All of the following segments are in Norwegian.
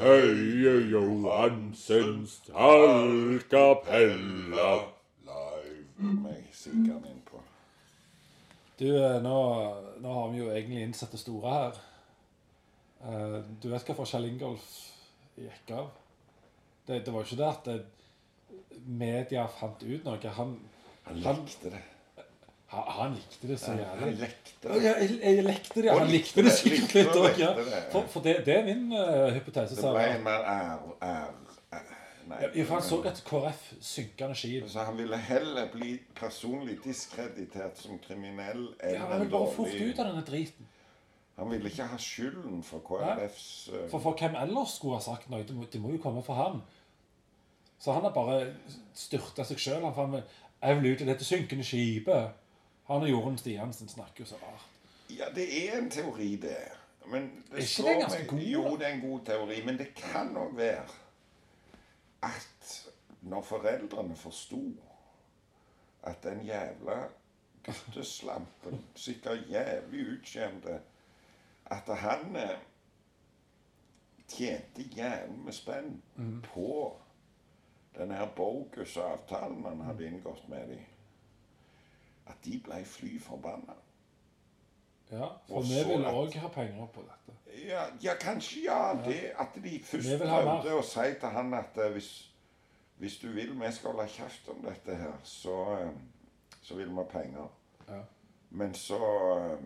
Høie Johansens tallkapella. Live må jeg synge den inn på. Du, eh, nå, nå har vi jo egentlig innsatt det store her. Eh, Du vet hva Kjell Ingolf gikk av? Det, det var jo ikke det at det- media fant ut noe. Han, Han lekte det. han, han likte det så Han jævlig. lekte Ja, det. Jeg, jeg lekte det. Og Han likte det, likte det likte skikkelig. det, da, ja. likte det. For, for det, det er min eh, Det hypotese. ble Sara. en mer ære, ære, ære. Nei. Ja, for han så et KrF synkende skip. Så han ville heller bli personlig diskreditert som kriminell enn Ja, en han vil bare fort dårlig ut av denne driten. Han ville ikke ha skylden for KrFs eh, For, for hvem ellers skulle ha sagt noe? Det må, det må jo komme fra han. Så han har bare styrta seg sjøl. Han fant Jeg vil ut i dette synkende skipet. Han og Jorunn Stiansen snakker jo så rart. Ja, det er en teori, det. Men det Er ikke slår den ganske meg- god, Jo, da? det er en god teori, men det kan òg være at når foreldrene forsto at den jævla gutteslampen sikkert jævlig utskjemte At han eh, tjente jævlig med spenn Mm. på den her bogus-avtalen han hadde inngått med dem. At de ble fly forbanna. Ja, Og For vi så vil at- òg ha penger på dette. Ja, ja kanskje ja. Det at de først Vi vil ha mer. prøvde å si til han at eh, hvis, hvis du vil vi skal holde kjeft om dette her, så, eh, så vil vi ha penger. Ja. Men så eh,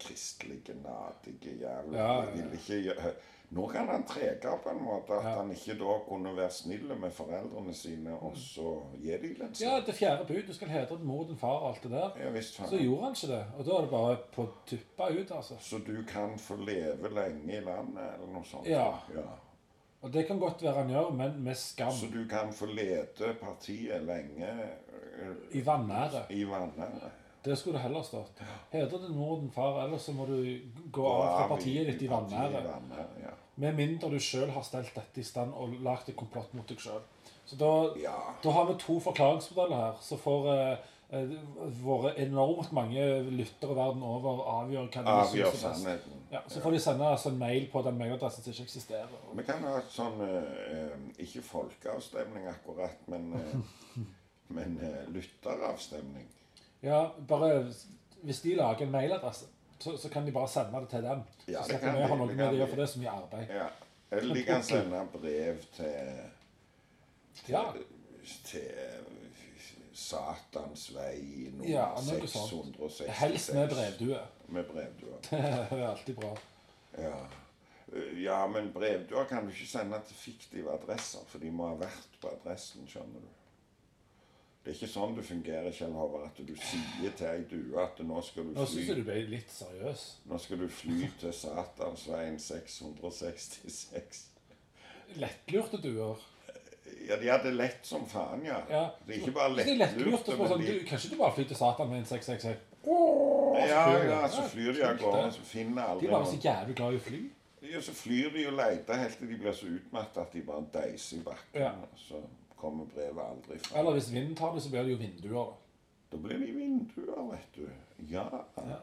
Kristelige, nadige jævla Ja, ja, de ja. ville ikke gjø- Nå kan han trege på en måte at Ja. Mm. han ikke da kunne være snill med foreldrene sine og så gi dem litt ja, slapp. det fjerde bud. Du skal hedre din mor, din far og alt det der. Ja, visst Så faen. gjorde han ikke det. Og da er det bare på tuppa ut, altså. Så du kan få leve lenge i landet, eller noe sånt? Ja. ja. Og det kan godt være han gjør, men med Så skam. du kan få lede partiet lenge eh, I vanæret. i vannet? Det skulle det heller stått. Hedre din mor, din far, ellers så må du gå Og av fra av partiet ditt i partiet vanæret. vanæret, ja. Med mindre du sjøl har stelt dette i stand og lagd et komplott mot deg sjøl. Så da, Ja. da har vi to forklaringsmodeller her. Så får eh, eh, våre enormt mange lyttere verden over avgjøre hva de Avgjør syns er best. sannheten. Ja, så får de sende oss en mail på den mailadressen som ikke eksisterer. Og- Vi kan ha et sånn eh, eh, Ikke folkeavstemning akkurat, men, eh, men eh, lytteravstemning. Ja, bare Hvis de lager en mailadresse, så, så kan de bare sende det til dem. Ja, så det slipper kan vi å de, ha noe det med kan det å de. gjøre, for det er så mye arbeid. Ja. Eller de kan sende brev til, Ja, til Satans vei nummer Ja, noe sånt. 666. Helst med brevdue. Med brevduer. Det er alltid bra. Ja. Eh, ja, men brevduer kan du ikke sende til fiktive adresser, for de må ha vært på adressen, skjønner du. Det er ikke sånn du fungerer, Kjell Håvard, at du sier til ei due at nå skal du Nå syns jeg fly, du ble litt seriøs. nå skal du fly til Satansveien 666. Lettlurte duer. Ja, de hadde lett som faen, ja. Ja. Det er ikke bare Det er lettlurt lettlurte, å få men sånn, de du, Kanskje du bare flyr til Satan med en 666? Ja, flyr de. ja, så Ja, flyr de av kult, gårde, det. så finner De aldri er bare noen så jævlig glad i å fly. Ja, så flyr de og leter helt til de blir så utmattet at de bare deiser i bakken. Ja. og Så kommer brevet aldri fram. Eller hvis vinden tar det, så blir det jo vinduer. Da blir det vinduer, vet du. Ja. da.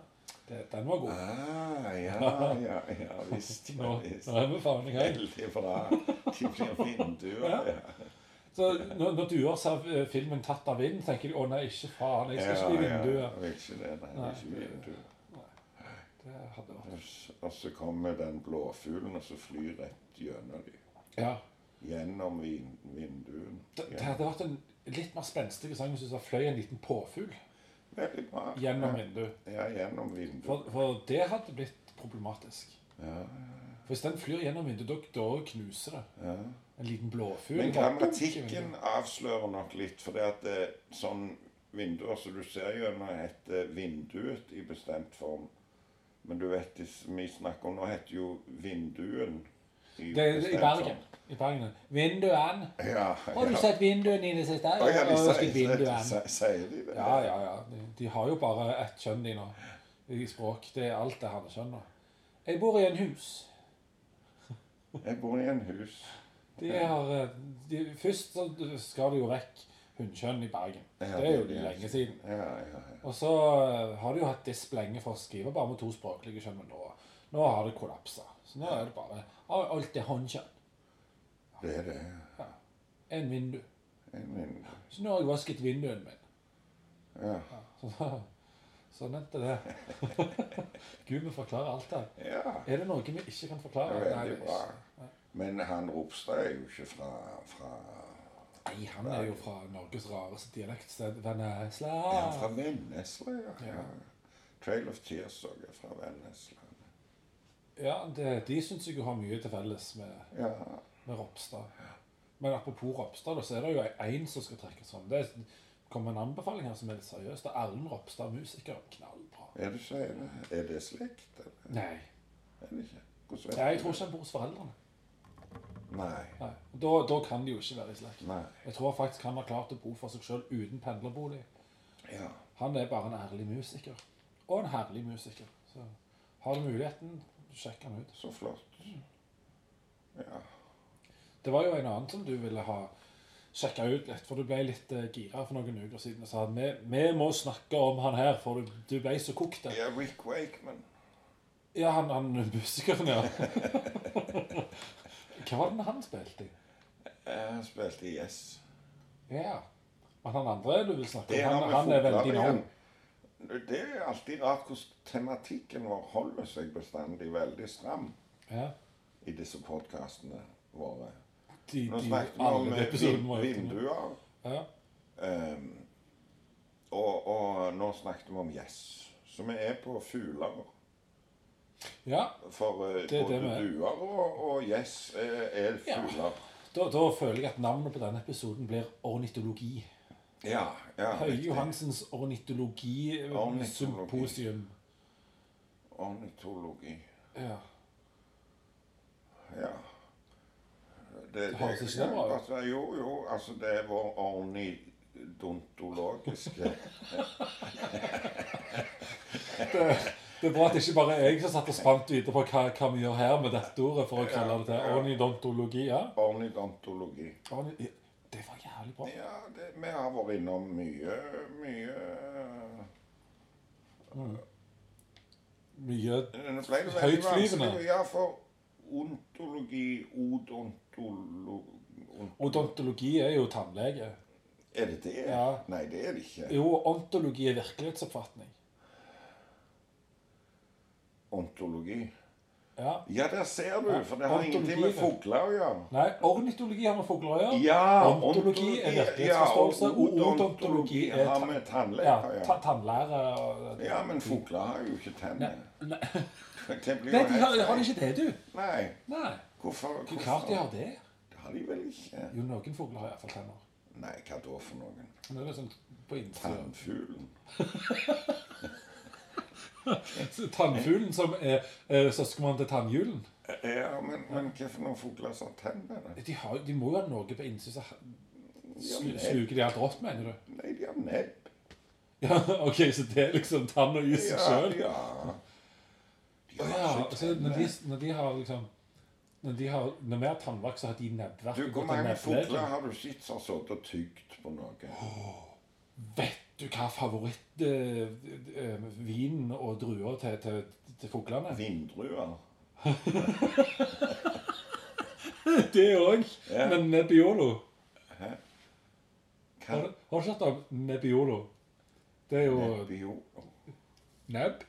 Det, den var god. Ah, ja, ja, ja visst. Nå, Ja, visst. nå er vi faen i gang. Veldig bra. De blir vinduer. ja. Så når, når duer ser eh, filmen 'Tatt av vinden', tenker de 'Å nei, ikke faen, jeg skal ikke bli Ja, vinduet'. jeg vet ikke det. Nei, ikke vinduer. Det hadde vært Og så kommer den blåfuglen, og så flyr rett gjennom dem. Ja. Gjennom vin vinduene. Det, det Ja. hadde vært en litt mer spenstig sang hvis du sa 'fløy en liten påfugl Veldig bra. gjennom vinduet'. Ja, gjennom vinduet. For, for det hadde blitt problematisk. For hvis den flyr gjennom vinduet, da- da knuser det. En liten blåfugl. Men bare- grammatikken avslører nok litt, for det at eh, sånn vinduer som du ser gjennom, heter vinduet i bestemt form. Men du vet, det som vi snakker om nå, heter jo vinduen i Det er i Bergen. I Bergen. Vinduene. Ja, Har du ja. sett vinduene dine sist? Ja, Å, ja, de jeg har sett sier- vinduene. sier- Sier de det? Ja, ja, ja. De- De har jo bare ett kjønn, de nå. I språk. Det er alt det handler kjønn nå. Jeg bor i en hus. Jeg bor i en hus. De har eh, de, Først så skal det jo vekk hundkjønn i Bergen. Det er jo lenge siden. Ja, ja, ja. Og så eh, har de jo hatt disp lenge for å skrive bare med to språklige kjønn, men nå, Nå har det kollapsa. Så nå er det bare al- Alt er håndkjønn. Det er det. En vindu. En vindu. Så nå har jeg vasket vinduet min. Ja. Så da- Sånn er det det. Gud, vi forklarer alt her. ja. Er det noe vi ikke kan Det forklare? er Nei, veldig det er bra. ikke- Men han Ropstad er jo ikke fra, fra Nei, han er jo fra Norges rareste dialektsted, Vennesla. Er han fra Vennesla, ja? Ja. ja. Trail of Tears òg er fra Vennesla. Ja, det, de syns jeg jo har mye til felles med, Ja. med Ropstad. Men apropos Ropstad, da, så er det jo én som skal trekkes fram. Det kommer en anbefaling her som er litt seriøs. Det er Erlend Ropstad, musiker. Knallbra. Er det, så er det, er det slekt, eller? Nei. Er det ikke? Hvordan Nei, jeg vet du tror ikke han bor hos foreldrene. det? Nei. Nei. Da, da kan de jo ikke være i slekt. Nei. Jeg tror faktisk han har klart å bo for seg sjøl uten pendlerbolig. Ja. Han er bare en ærlig musiker. Og en herlig musiker. Så har du muligheten, sjekk han ut. Så flott. Ja. Det var jo en annen som du ville ha sjekka ut litt, for du ble litt eh, gira for noen uker siden og sa at vi, vi må snakke om han her, for du, du ble så kokt. ja, Rick Wakeman. Ja, han, han musikeren, ja. Hva var det han spilte i? Eh, Han spilte i Yes. Ja. Men han andre du vil snakke Det om, har han, vi han er fotball veldig igjen. navn. Det er alltid rart hvordan tematikken vår holder seg bestandig veldig stram Ja. i disse podkastene våre. De, Nå de, snakket vi om alle eh, episoden vin- var jo vinduer. Ja. ehm, og, og nå snakket vi om gjess. Så vi er på fugler. ja. For eh, Det er det både vi er. duer og, og gjess er, er Ja. fugler. Da, da føler jeg at navnet på denne episoden blir ornitologi. Ja. ja, Høie riktig. Johansens eh, Ornitologi. ornitologisymposium. Ornitologi. Ja. Ja. Det, det, høres ikke kan bra ut. godt være. jo, jo, altså det er vår ornidontologiske Det er bra at det ikke bare er jeg som satt og spant videre på hva, hva vi gjør her med dette ordet, for å kalle det til ornidontologi. Ja. Ornidontologi. Orni- Det var jævlig bra. Ja, det, vi har vært innom mye, mye Mye Nå ble det veldig Høytflyvende. vanskelig. Ja, for ontologi, odontolog... ont- Odontologi er jo tannlege. Er det det? Ja. Nei, det er det ikke. Jo, ontologi er virkelighetsoppfatning. Ontologi. Ja. Ja, der ser du, Ja, for det har ingenting med ontologi, vet fugler å gjøre. Nei, ornitologi har med fugler å gjøre. Ja, Ontologi er virkelighetsforståelse, og odontologi er har ta- med Ja, tannleger å ta gjøre. tannlære og Ja, men fugler har jo ikke tenner. Nei, Det blir Nei jo de har, helt har de feil. ikke det, du? Nei, Nei. hvorfor, Hvor klart de har det? Det har de vel ikke. Jo, noen fugler har iallfall tenner. Nei, hva da for noen? Men det er sånn på innsiden. Tannfuglen. Tannfuglen som er eh, søskenbarn til tannhjulen. Ja, men, men hva for noen fugler som har tenner? da? De, har, jo- de må jo ha noe på innsiden som slu- men- sluker de alt rått, mener du? Nei, de har nebb. Ja, OK, så det er liksom tann og is Ja, sjøl? ja. De har Ja, ikke altså, når, tenner. de, når de har liksom Når de har når vi har tannverk, så har de nebbverk. Du, og hvor gått i mange nebbleven. fugler har du sett som har sittet og tygd på noe? Vet du hva eh, favorittvinen og druer til, til, til fuglene? Vindruer. Det òg, Ja. men Nebbiolo. Hva Har, har du hørt om Nebbiolo? Det er jo Nebbiolo. nebb.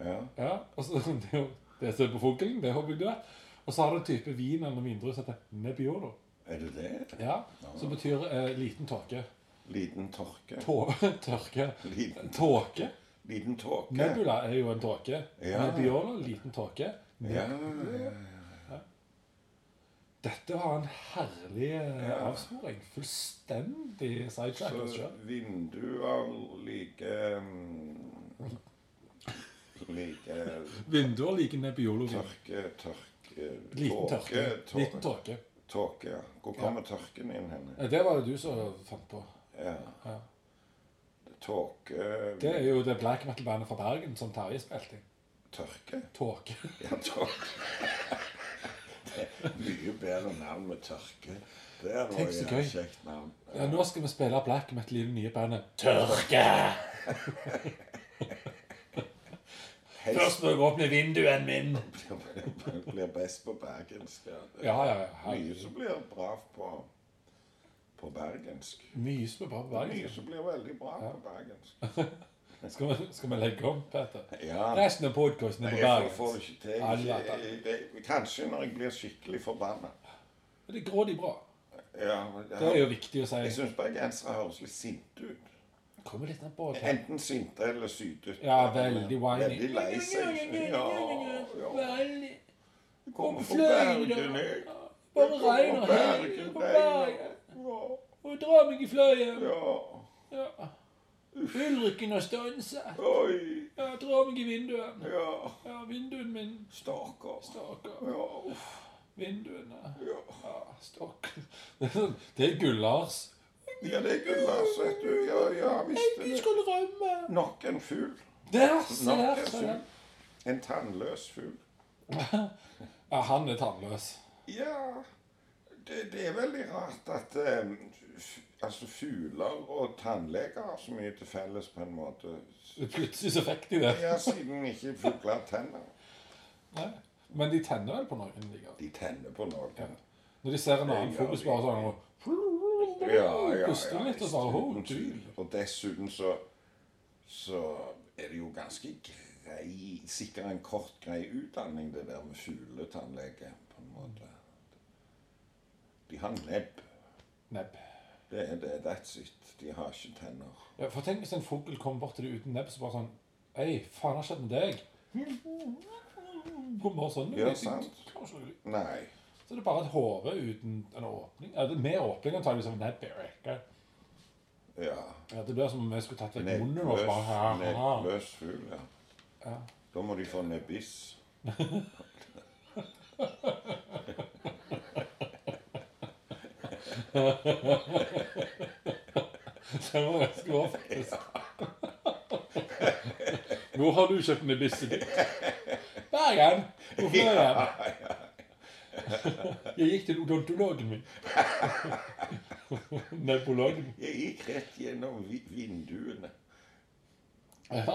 Ja. Ja, og så det er jo det som er på fuglen, det håper jeg du vet. Og så har du en type vin eller vindrue som heter Nebbiolo. Er det det? Ja, Som betyr eh, liten tåke. Liten tørke. Tå, tørke. Liten, Tåke. liten tåke. Nebula er jo en tåke. Ja. Nebbiolo, liten tåke. Ja. Dette var en herlig eh, avsporing. Fullstendig sidetrack. oss Så selv. vinduer like mm, Like Vinduer liker Nebbiolo. tørke, tørke Liten tørke. tå- Liten tåke. Tåke, ja. Hvor kommer tørken inn hen? Eh, Det var det du som fant på. Ja. Ja. Tåke Det er jo det black metal-bandet fra Bergen som Terje spilte i. Tørke? Tåke. Ja, tørke. Det er mye bedre navn med tørke. Det er Tenk så noe gøy. kjekt navn. Ja, nå skal vi spille black metal i det nye bandet Tørke! best, Først må jeg åpne vinduet min. blir best på bergensk. ja. Det Ja, ja, ja. er herregud. Mye som blir bra på, på bergensk. Mye som er bra på Mye bergensk. som blir veldig bra på bergensk. Skal, vi- skal vi legge om, Peter? Ja. Resten av podkasten er sånn på Jeg får- får det bergensk. ikke til. Alle Jeg- vet jeg- jeg- Kanskje når jeg blir skikkelig forbanna. Men det er grådig bra. Ja, Det er jeg jo viktig å jeg si. syns bergensere høres litt sinte ut. Kommer litt an på hva Enten sinte eller sytete. Ja, veldig whiny. Veldig lei seg. Ja, ja. Veldig. Jeg Kommer fra Bergen, Fløyen, ja. jeg. Bare Jeg kommer regn og fra helg Bergen. på Bergen. Ja, Og dra meg i fløyen. ja. Ja. Ulrikken har stanset. Oi, Ja, dra meg i vinduet. ja. Ja, vinduet min. Stakkar. Stakkar. Ja, uff, Vinduene. ja. Ja, stakkar. Det er sånn- Det er Gullars. Ja, det er Gullars, vet du. Ja, ja, visst. Jeg er det. skulle rømme. Nok en fugl. Der, se Nok der. en Se fugl. der. En tannløs fugl. Ja, han er tannløs. Ja, det, det er veldig rart at eh, f- altså fugler og tannleger har så mye til felles på en måte. Plutselig så fikk de det. Ja, siden ikke fugler har tenner. Nei. Men de tenner vel på noen likevel. De tenner på noen. Når de ser en annen Ja, fugl, så bare sånn og Ja, ja, ja. sånn, Puster litt og bare uten «Ho, tvil». du». Og dessuten så, så er det jo ganske grei, sikkert en kort grei utdanning det der med fugletannlege på en måte. De har nebb. Nebb. Det er det. That's it. De har ikke tenner. Ja, for tenk hvis en fugl kommer bort til deg uten nebb, så bare sånn Ei, faen, har skjedd med deg? Kommer bare sånn. Ja, «Jeg- jeg sant. klarer ikke å lide». Nei. Så det er bare et hode uten en åpning. Eller med åpning antakeligvis av nebbet. ja, ikke? Ja. Ja, det blir som om vi skulle tatt vekk munnen vår. Nebbløs, bare, «Haha». nebbløs fugl, ja. Da må de få nebbiss. Det var ganske bra, faktisk. Hvor har du kjøpt nebisset ditt? Bergen! På Fløyen. Jeg gikk til odontologen min. Nebologen. Jeg gikk rett gjennom vi vinduene. Ja.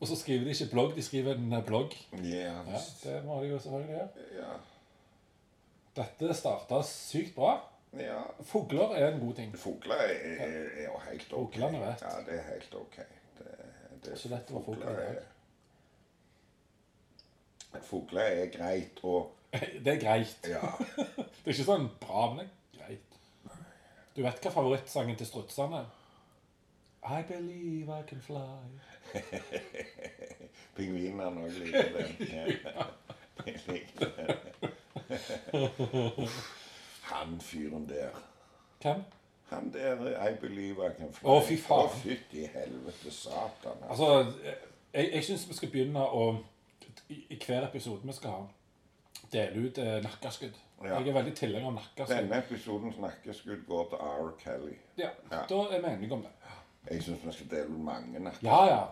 Og så skriver de ikke blogg, de skriver en blogg. Ja, Ja, visst. det må de jo selvfølgelig gjøre. Ja. Dette starta sykt bra. ja. Fugler er en god ting. Fugler er, er, er jo helt ok. Fuglene vet. Ja, det er helt ok. Det, det, Så dette var fugler i dag. er- Fugler er greit og Det er greit. Ja. Det er ikke sånn bra, men det er greit. Du vet hva favorittsangen til strutsene er? I believe I can fly. Pingvinene òg liker den. Ja. De liker den. Han fyren der. Hvem? Han der I believe I can fly. Å, fy faen. Å, fytti helvete satan. altså. Altså, jeg, jeg syns vi skal begynne å i, I hver episode vi skal ha, dele ut eh, nakkeskudd. Ja. Jeg er veldig tilhenger av nakkeskudd. Denne episoden snakkeskudd går til R. Kelly. Ja, Ja. Da er vi enige om det. Jeg syns vi skal dele ut mange natter. Ja, ja.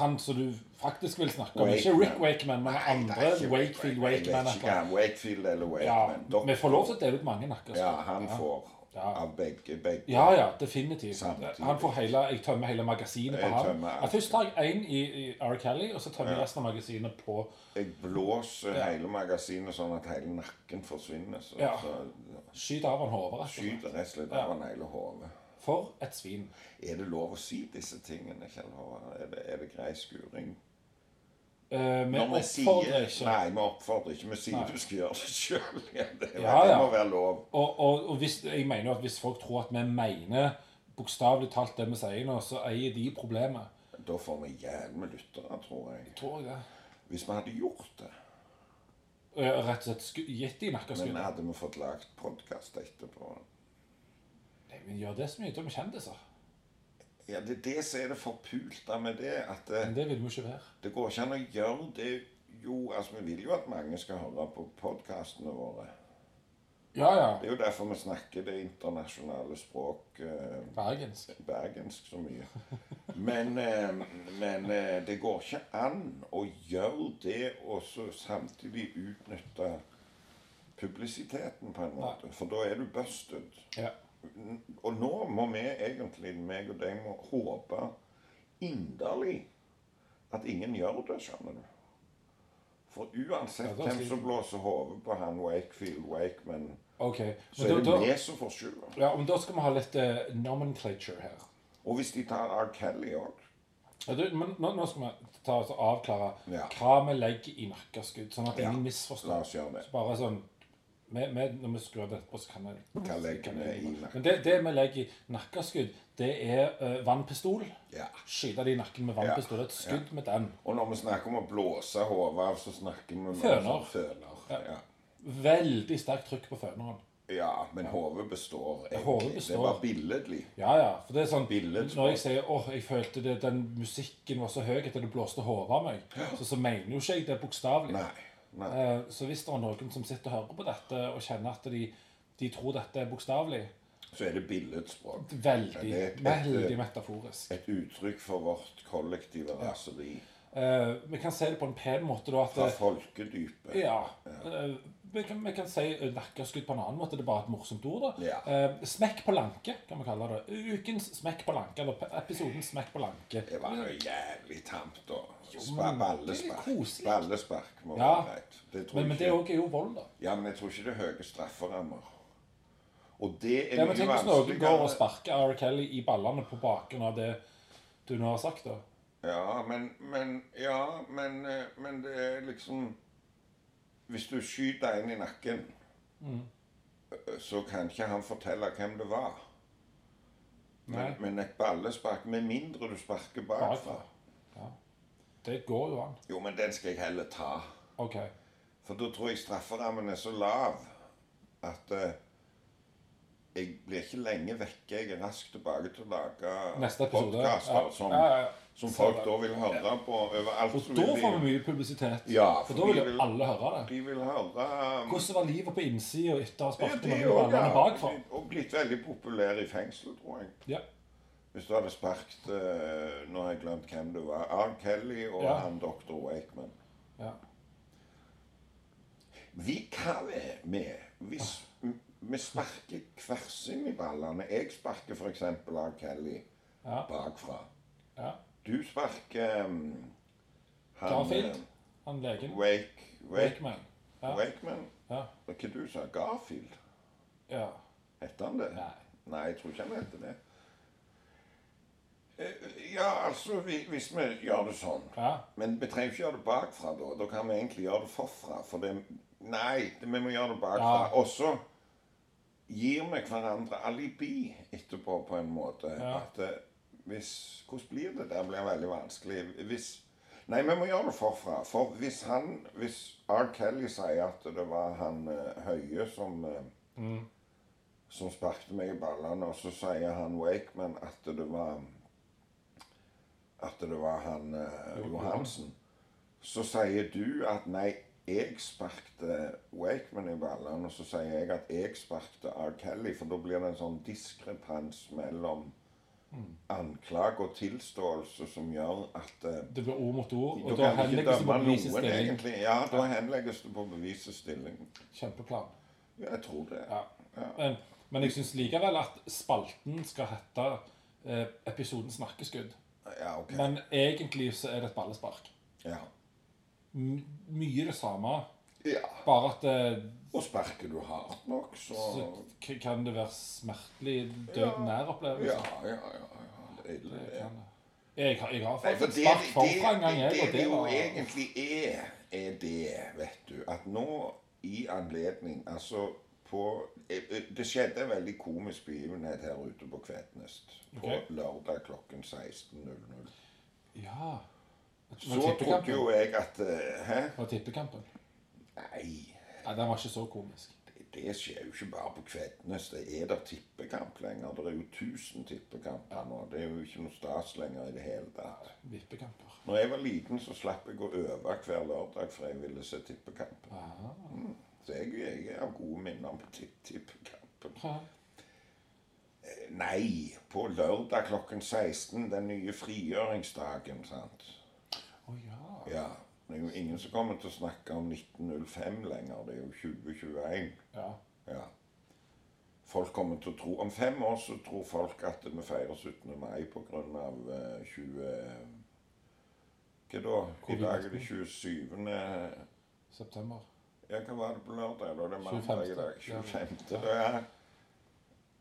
Han som du faktisk vil snakke om. Ikke Wakeman. Rick Wakeman, men andre Wakefield Wakeman. et eller annet. Wakefield eller Ja, Wakeman. Dere vi får lov til å dele ut mange nakkeskudd. Ja, han får Ja. av begge. begge. Ja, ja, definitivt. Samtidig. Han får hele, jeg tømmer hele magasinet på Jeg ham. tømmer alt. Ja, først tar jeg én i, i R. Kelly, og så tømmer jeg resten av magasinet på Jeg blåser hele magasinet sånn at hele nakken forsvinner. Så, Ja. så Skyt av han hodet. rett og slett. skyter rett og slett av han hele hodet. For et svin. Er det lov å si disse tingene, Kjell Håvard? Er det, er det grei skuring? Eh, vi Når vi sier- oppfordrer ikke. Nei, vi oppfordrer ikke. Vi sier du skal gjøre det sjøl. Det, Ja, det ja. må være lov. Og, og, og hvis, jeg mener jo at hvis folk tror at vi mener bokstavelig talt det vi sier nå, så eier de problemet. Da får vi jævlig med lyttere, tror jeg. Tror jeg det. Hvis vi hadde gjort det. Eh, Rett og slett sku- gitt de Men nakkeskudd. hadde vi fått lagd podkast etterpå? Nei, Men gjør det så mye til med kjendiser. Ja, Det er det som er det forpulte med det. At det, Men det vil vi jo ikke være. det går ikke an å gjøre det jo Altså, vi vil jo at mange skal høre på podkastene våre. Ja, ja. Det er jo derfor vi snakker det internasjonale språk eh, Bergensk. bergensk så mye. Men, eh, men eh, det går ikke an å gjøre det og så samtidig utnytte publisiteten på en måte. For da er du busted. Ja. N- Og nå må vi egentlig, meg og deg, må håpe inderlig at ingen gjør det, skjønner du. For uansett Ja, da hvem sier- som blåser hodet på han Wakefield Wakeman, OK. så er Men da, det vi da, som får skylda. ja, men da skal vi ha litt eh, nomenclature her. Og hvis de tar R. Kelly òg Ja, du, men nå, nå skal vi ta oss og avklare Ja. hva vi legger i nakkeskudd, sånn at Ja. ingen La misforstår. oss gjøre det. Så bare sånn vi, vi, Når vi skrur dette på, så kan vi Hva legger vi i nakken? Men det, det vi legger i nakkeskudd, det er eh, vannpistol. Ja. Skyte det i nakken med vannpistol. Et skudd med den. Og når vi snakker om å blåse hodet av, så snakker vi om Føner. føner. Ja. Veldig sterkt trykk på føneren. ja, men hodet består egentlig. Hodet består. Det var billedlig. Ja, ja. For det er sånn Billedspråk. Når jeg sier 'Åh, jeg følte det, den musikken var så høy etter det blåste hodet av meg', så, så mener jo ikke jeg det bokstavelig. Nei. nei. Eh, Så hvis det er noen som sitter og hører på dette og kjenner at de, de tror dette er bokstavelig Så er det billedspråk. Veldig, Ja, det er- veldig metaforisk. Et uttrykk for vårt kollektive raseri. Eh, vi kan si det på en pen måte, da. Fra at folkedypet. det, Ja. eh, vi, kan, vi kan si eh, nakkeskudd på en annen måte. Det er bare et morsomt ord, da. Ja. Eh, smekk på lanke, kan vi kalle det. Ukens smekk på lanke. Eller pe- episodens smekk på lanke. Det var jo jævlig tamt, da. Spa- men det er Ballespark. koselig. Ballespark må Ja. være greit. Det tror Men, men jeg det ikke. òg er jo vold, da. Ja, men jeg tror ikke det er høye strafferammer. Og det er eh, Ja, mye men tenk hvis noen går og vanskeligere. sparker R. Kelly i ballene på bakgrunn av det du nå har sagt, da. Ja, men, men Ja, men, eh, men det er liksom Hvis du skyter en i nakken, Mm. eh, så kan ikke han fortelle hvem det var. Men, Nei. men et ballespark Med mindre du sparker bakfra. Bakfra. Ja. Det går jo an. Jo, men den skal jeg heller ta. OK. For da tror jeg strafferammen er så lav at eh, jeg blir ikke lenge vekke. Jeg er raskt tilbake til å lage Neste episode. podcaster Ja. som, Ja, ja, ja. som folk da vil høre på overalt. Og så da vil de- får vi mye publisitet. Ja, for for da vil vi jo vil- alle høre det. De vil høre um, Hvordan var livet på innsida etter å ha ja, sparket de noen i også, ballene bakfra? ja, Og blitt veldig populær i fengsel, tror jeg. Ja. Hvis du hadde sparket eh, Nå har jeg glemt hvem det var. R. Kelly og Ja. han dr. Wakeman. ja. Vi kan være med hvis m- vi sparker hver inn i ballene. Jeg sparker f.eks. R. Kelly Ja. bakfra. ja. Du sparker um, han Garfield. eh, Han legen. Wake, Wake, Wakeman. Ja. Wakeman. Ja. Hva var det du sa Garfield? ja. Heter han det? Nei. Nei, jeg tror ikke han heter det. Eh, Ja, altså, vi- hvis vi gjør det sånn Ja. Men vi trenger ikke gjøre det bakfra, da. Da kan vi egentlig gjøre det forfra. For det Nei, det- vi må gjøre det bakfra. Ja. Og så gir vi hverandre alibi etterpå, på en måte. Ja. At eh, hvis Hvordan blir det? Det blir veldig vanskelig. Hvis Nei, vi må gjøre det forfra. For hvis han Hvis R. Kelly sier at det var han eh, Høie som eh, Som sparket meg i ballene, og så sier han Wakeman at det var At det var han eh, Johansen. Så sier du at nei, jeg sparkte Wakeman i ballene, og så sier jeg at jeg sparkte R. Kelly, for da blir det en sånn diskrepans mellom Mm. anklage og tilståelse som gjør at eh, Det blir ord mot ord, og da da kan vi ikke henlegges det dømme på bevisets noen, stilling. egentlig. Ja, da henlegges det på bevisets stilling. Kjempeplan. Ja, jeg tror det. Ja. Men, men jeg syns likevel at spalten skal hete eh, episoden 'Snakkeskudd'. Ja, ok. Men egentlig så er det et ballespark. Ja. M mye det samme, ja. bare at eh, Og sparker du hardt nok, så så k- kan det være smertelig Ja. døden nær opplevelse. Ja, ja, ja. ja. Det er ille, Det det. kan det. Jeg, har- jeg har Nei, fått for et det, spark det, forfra en gang, jeg, det, og det det jo var egentlig er, er det, vet du, at nå i anledning Altså på eh, eh, Det skjedde en veldig komisk begivenhet her ute på Kvetnest på Ok. lørdag klokken 16.00. Ja. Så trodde jo jeg at eh, Hæ? På tippekampen. Nei, Nei, den var ikke så komisk. det- det skjer jo ikke bare på Kvednes. Det er der tippekamp lenger. Det er jo 1000 tippekamper nå. Det er jo ikke noe stas lenger i det hele tatt. Vippekamper. Når jeg var liten, så slapp jeg å øve hver lørdag, for jeg ville se tippekampen. Mm. Ah. Så jeg, jeg har gode minner om tipp tippekampen. Eh, Nei, på lørdag klokken 16, den nye frigjøringsdagen, sant. Å ja. Ja, det er jo ingen som kommer til å snakke om 1905 lenger. Det er jo 2021. ja. Ja. Folk kommer til å tro Om fem år så tror folk at vi feirer 17. mai pga. 20... eh, Hva da? I Covid-19. dag er det 27. September. Ja, hva var det på lørdag? Da er det mandag i dag. 25.. 25. Ja. Da er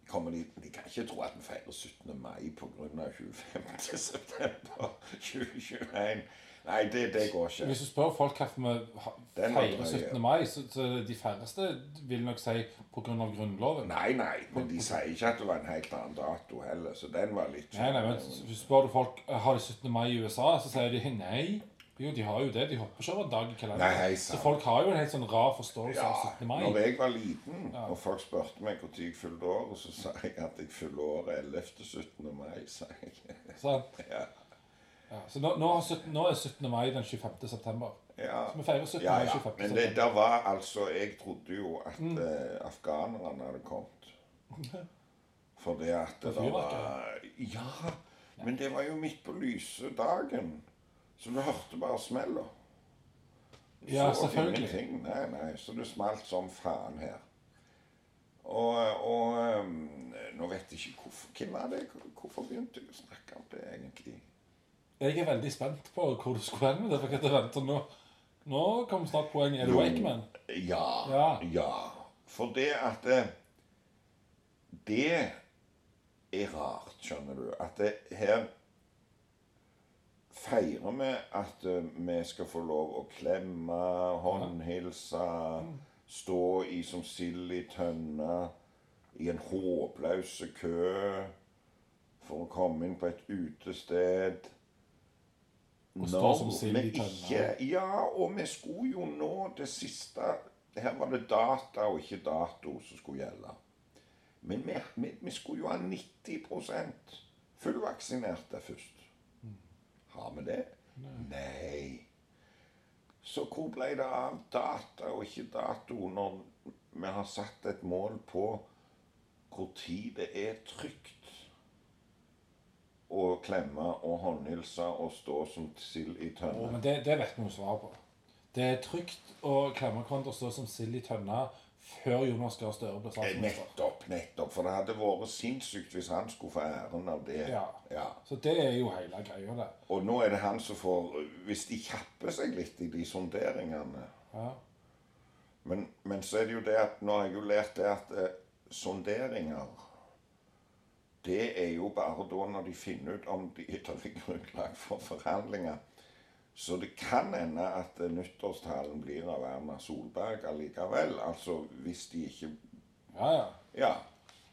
Kommer de, de kan ikke tro at vi feirer 17. mai pga. 25. september 2021. Nei, det, det går ikke. Hvis du spør folk hvorfor vi ha- Den var feirer drøy, 17. ja. mai, så, så er det de færreste vil nok si pga. Grunnloven. Nei, nei, men de sier ikke at det var en helt annen dato heller, så den var litt Nei, nei, men s- hvis du spør du folk eh, har de 17. mai i USA, så sier de nei. Jo, de har jo det. De hopper ikke over en dag i Nei, kalenderen. Så sant. folk har jo en helt sånn rar forståelse Ja, av 17. mai. når jeg var liten, og folk spurte meg når jeg fylte år, og så sa jeg at jeg fyller året 11. 17. mai, sa jeg. Sant? Ja. Ja, så nå, nå, har 17, nå er 17. mai den 25. september. Ja. Så vi sånn. feirer 17. Ja, mai ja. 25. Men det september. der var altså Jeg trodde jo at Mm. eh, afghanerne hadde kommet. Fordi at det, Det var var Ja! Men det var jo midt på lyse dagen. Så du hørte bare smella. Du Ja, så selvfølgelig. ingenting. Nei, nei. Så det smalt som faen her. Og, og eh, nå vet jeg ikke hvorfor Hvem var det? Hvorfor begynte jeg å snakke om det, egentlig? Jeg er veldig spent på hvor du skulle hen med det. For jeg venter nå. Nå kommer snart poenget. Er det Jo. Wakeman? Ja. Ja. For det at eh, Det er rart, skjønner du. At det, her feirer vi at eh, vi skal få lov å klemme, håndhilse, stå i som sild i tønne, i en håpløs kø for å komme inn på et utested. Og stå Når som sild vi i tønne. ikke- Ja, og vi skulle jo nå det siste Her var det data og ikke dato som skulle gjelde. Men vi, vi, vi skulle jo ha 90 fullvaksinerte først. Har vi det? Nei. Så hvor ble det av data og ikke dato når vi har satt et mål på hvor tid det er trygt å klemme og håndhilse og stå som sild i Å, tønne? men det, det vet vi jo svar på. Det er trygt å klemme hverandre og stå som sild i tønna før Jonas Gahr Støre blir Eh, statsminister. Nettopp, nettopp. For det hadde vært sinnssykt hvis han skulle få æren av det. Ja. Ja. Så det er jo hele greia, det. Og nå er det han som får Hvis de kjapper seg litt i de sonderingene Ja. Men, men så er det jo det at nå har jeg jo lært det at eh, sonderinger Det er jo bare da når de finner ut om de det er grunnlag for forhandlinger. Så det kan hende at eh, nyttårstalen blir av Erna Solberg allikevel. Altså hvis de ikke ja, ja. Ja.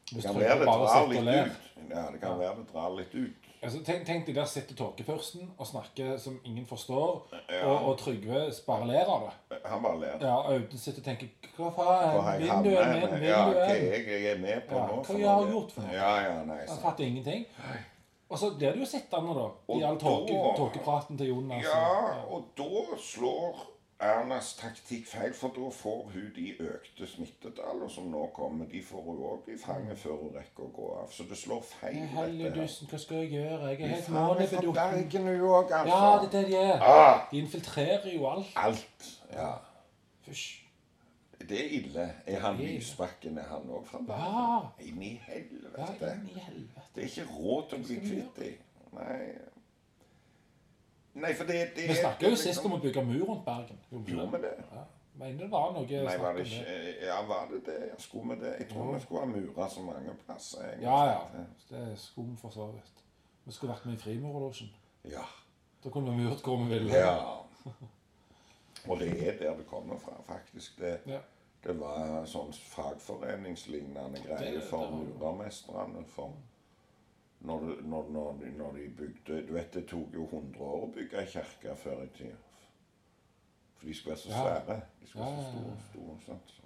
Det Hvis kan Trygve være det bare drar sitter litt og ler. ut. Ja, det kan være det drar litt ut. Altså, tenk, tenk de der sitter tåkefyrsten og snakker som ingen forstår, Ja. og, og Trygve bare ler av det. Han bare ler. Ja, Audun sitter og tenker Hva Hva faen? har jeg Vinduet er havnet min, med? Ja, vinduet hva er min. jeg, jeg er med på Ja, nå? hva for jeg har noe? gjort for noe? Ja, ja, nei, Han sant. fatter ingenting. Og så blir du jo sittende, da, Og i all tåke, da- tåkepraten til Jonas. Ja, og da slår Ernas taktikk feil, for da får hun de økte smittetallene som nå kommer. De får hun òg i fanget Mm. før hun rekker å gå av. Så det slår feil, dette her. Helligdussen, hva skal jeg gjøre? Jeg er Faen, helt jeg er fra månebedukken. Bergen, hun òg, Ja, det altså. er det de er. Ah, De infiltrerer jo alt. alt. Ja. Fysj. Det er ille. Er han Det er ille. Lysbakken, er han òg fra Ja. Bergen? Inn i Ja, helvete. inn i helvete. Det er ikke råd til å bli Hva skal vi kvitt dem. Nei. Nei, for det, det Vi snakka jo sist om å bygge mur rundt Bergen. Gjorde vi det? Ja. Mener det var noe Nei, snakk var om det det. ikke Ja, var det det? Jeg skulle med det. Jeg tror vi skulle ha murer så mange plasser. egentlig. Ja, ja. Det er skum for så vidt. Vi skulle vært med i Frimurlosjen. Ja. Da kunne vi murt hvor vi ville. ja. Og det er der det kommer fra, faktisk. Det, Ja. det var sånn fagforeningslignende Det- greie det for har vi. murermestrene. For når, du- når, når, de, når de bygde Du vet, det tok jo 100 år å bygge ei kirke før i tida. For de skulle være så Ja. svære. De skulle være Ja, så ja, store. ja. store sant? Så,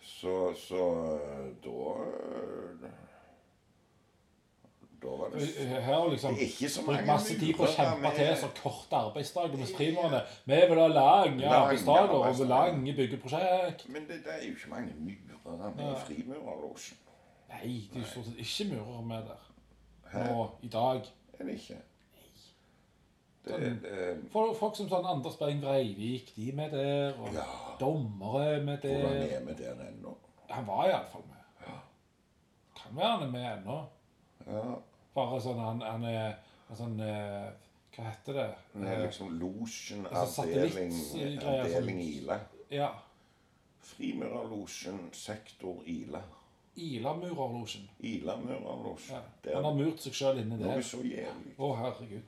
så, så øh, da Da var det f- Her har liksom Det er ikke så brukt mange masse tid på å murer kjempe med- til så korte arbeidsdager med frimurene. Vi vil ha lange Lange arbeidsdager og arbeidsdager. lange byggeprosjekt. Men det, det er jo ikke mange murer med i frimurerlosjen. Nei, det er jo stort sett ikke murer med der. Nå, i dag. Er det ikke? Sånn. Det, det, For folk som sånn Anders Berg Breivik, de er med der, og Ja. dommere er med Hvordan der. er vi der ennå? Han var iallfall med. Kan være han er med ennå. Ja. Bare sånn han, han er en sånn eh, Hva heter det? Det er liksom losjen, Altså, avdeling, satellitt- greier, avdeling sånn. Ile. Ja. Frimurerlosjen, sektor Ile. Ilamurerlosjen. Ja. Ilamurerlosjen. Han har Der murt seg sjøl inni noe der. så jævlig. Å, herregud.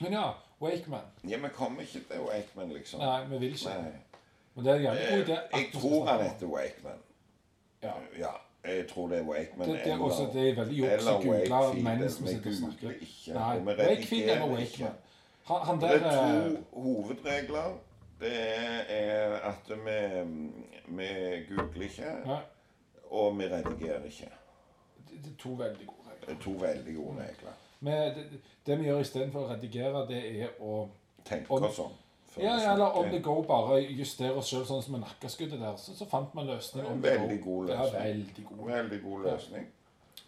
Men ja, Wakeman. Ja, vi kommer ikke til Wakeman, liksom. Nei, vi vil ikke. Nei. Eh, Men det er en jævlig god idé. at Jeg vi skal tror han snakke om heter Wakeman. Ja. Ja, jeg tror det er Wakeman. Det, det, er eller- også, det er veldig juks å eller google Wakefield, mens vi vi sitter og snakker. googler ikke, Nei, og vi Wakefield redigerer eller ikke. Wakeman. Han, han Det er der eh, to hovedregler. Det er at vi, vi googler ikke, ja, og vi redigerer ikke. det det er to veldig gode regler. Det er to veldig gode regler. Men det, det vi gjør istedenfor å redigere, det er å Tenk Om- oss om. før Ja, vi ja, eller on the snakker. go bare justere oss sjøl, sånn som med nakkeskuddet der. Så, så fant man løsning. on the go. Veldig god Det er løsning. veldig god. Veldig god løsning.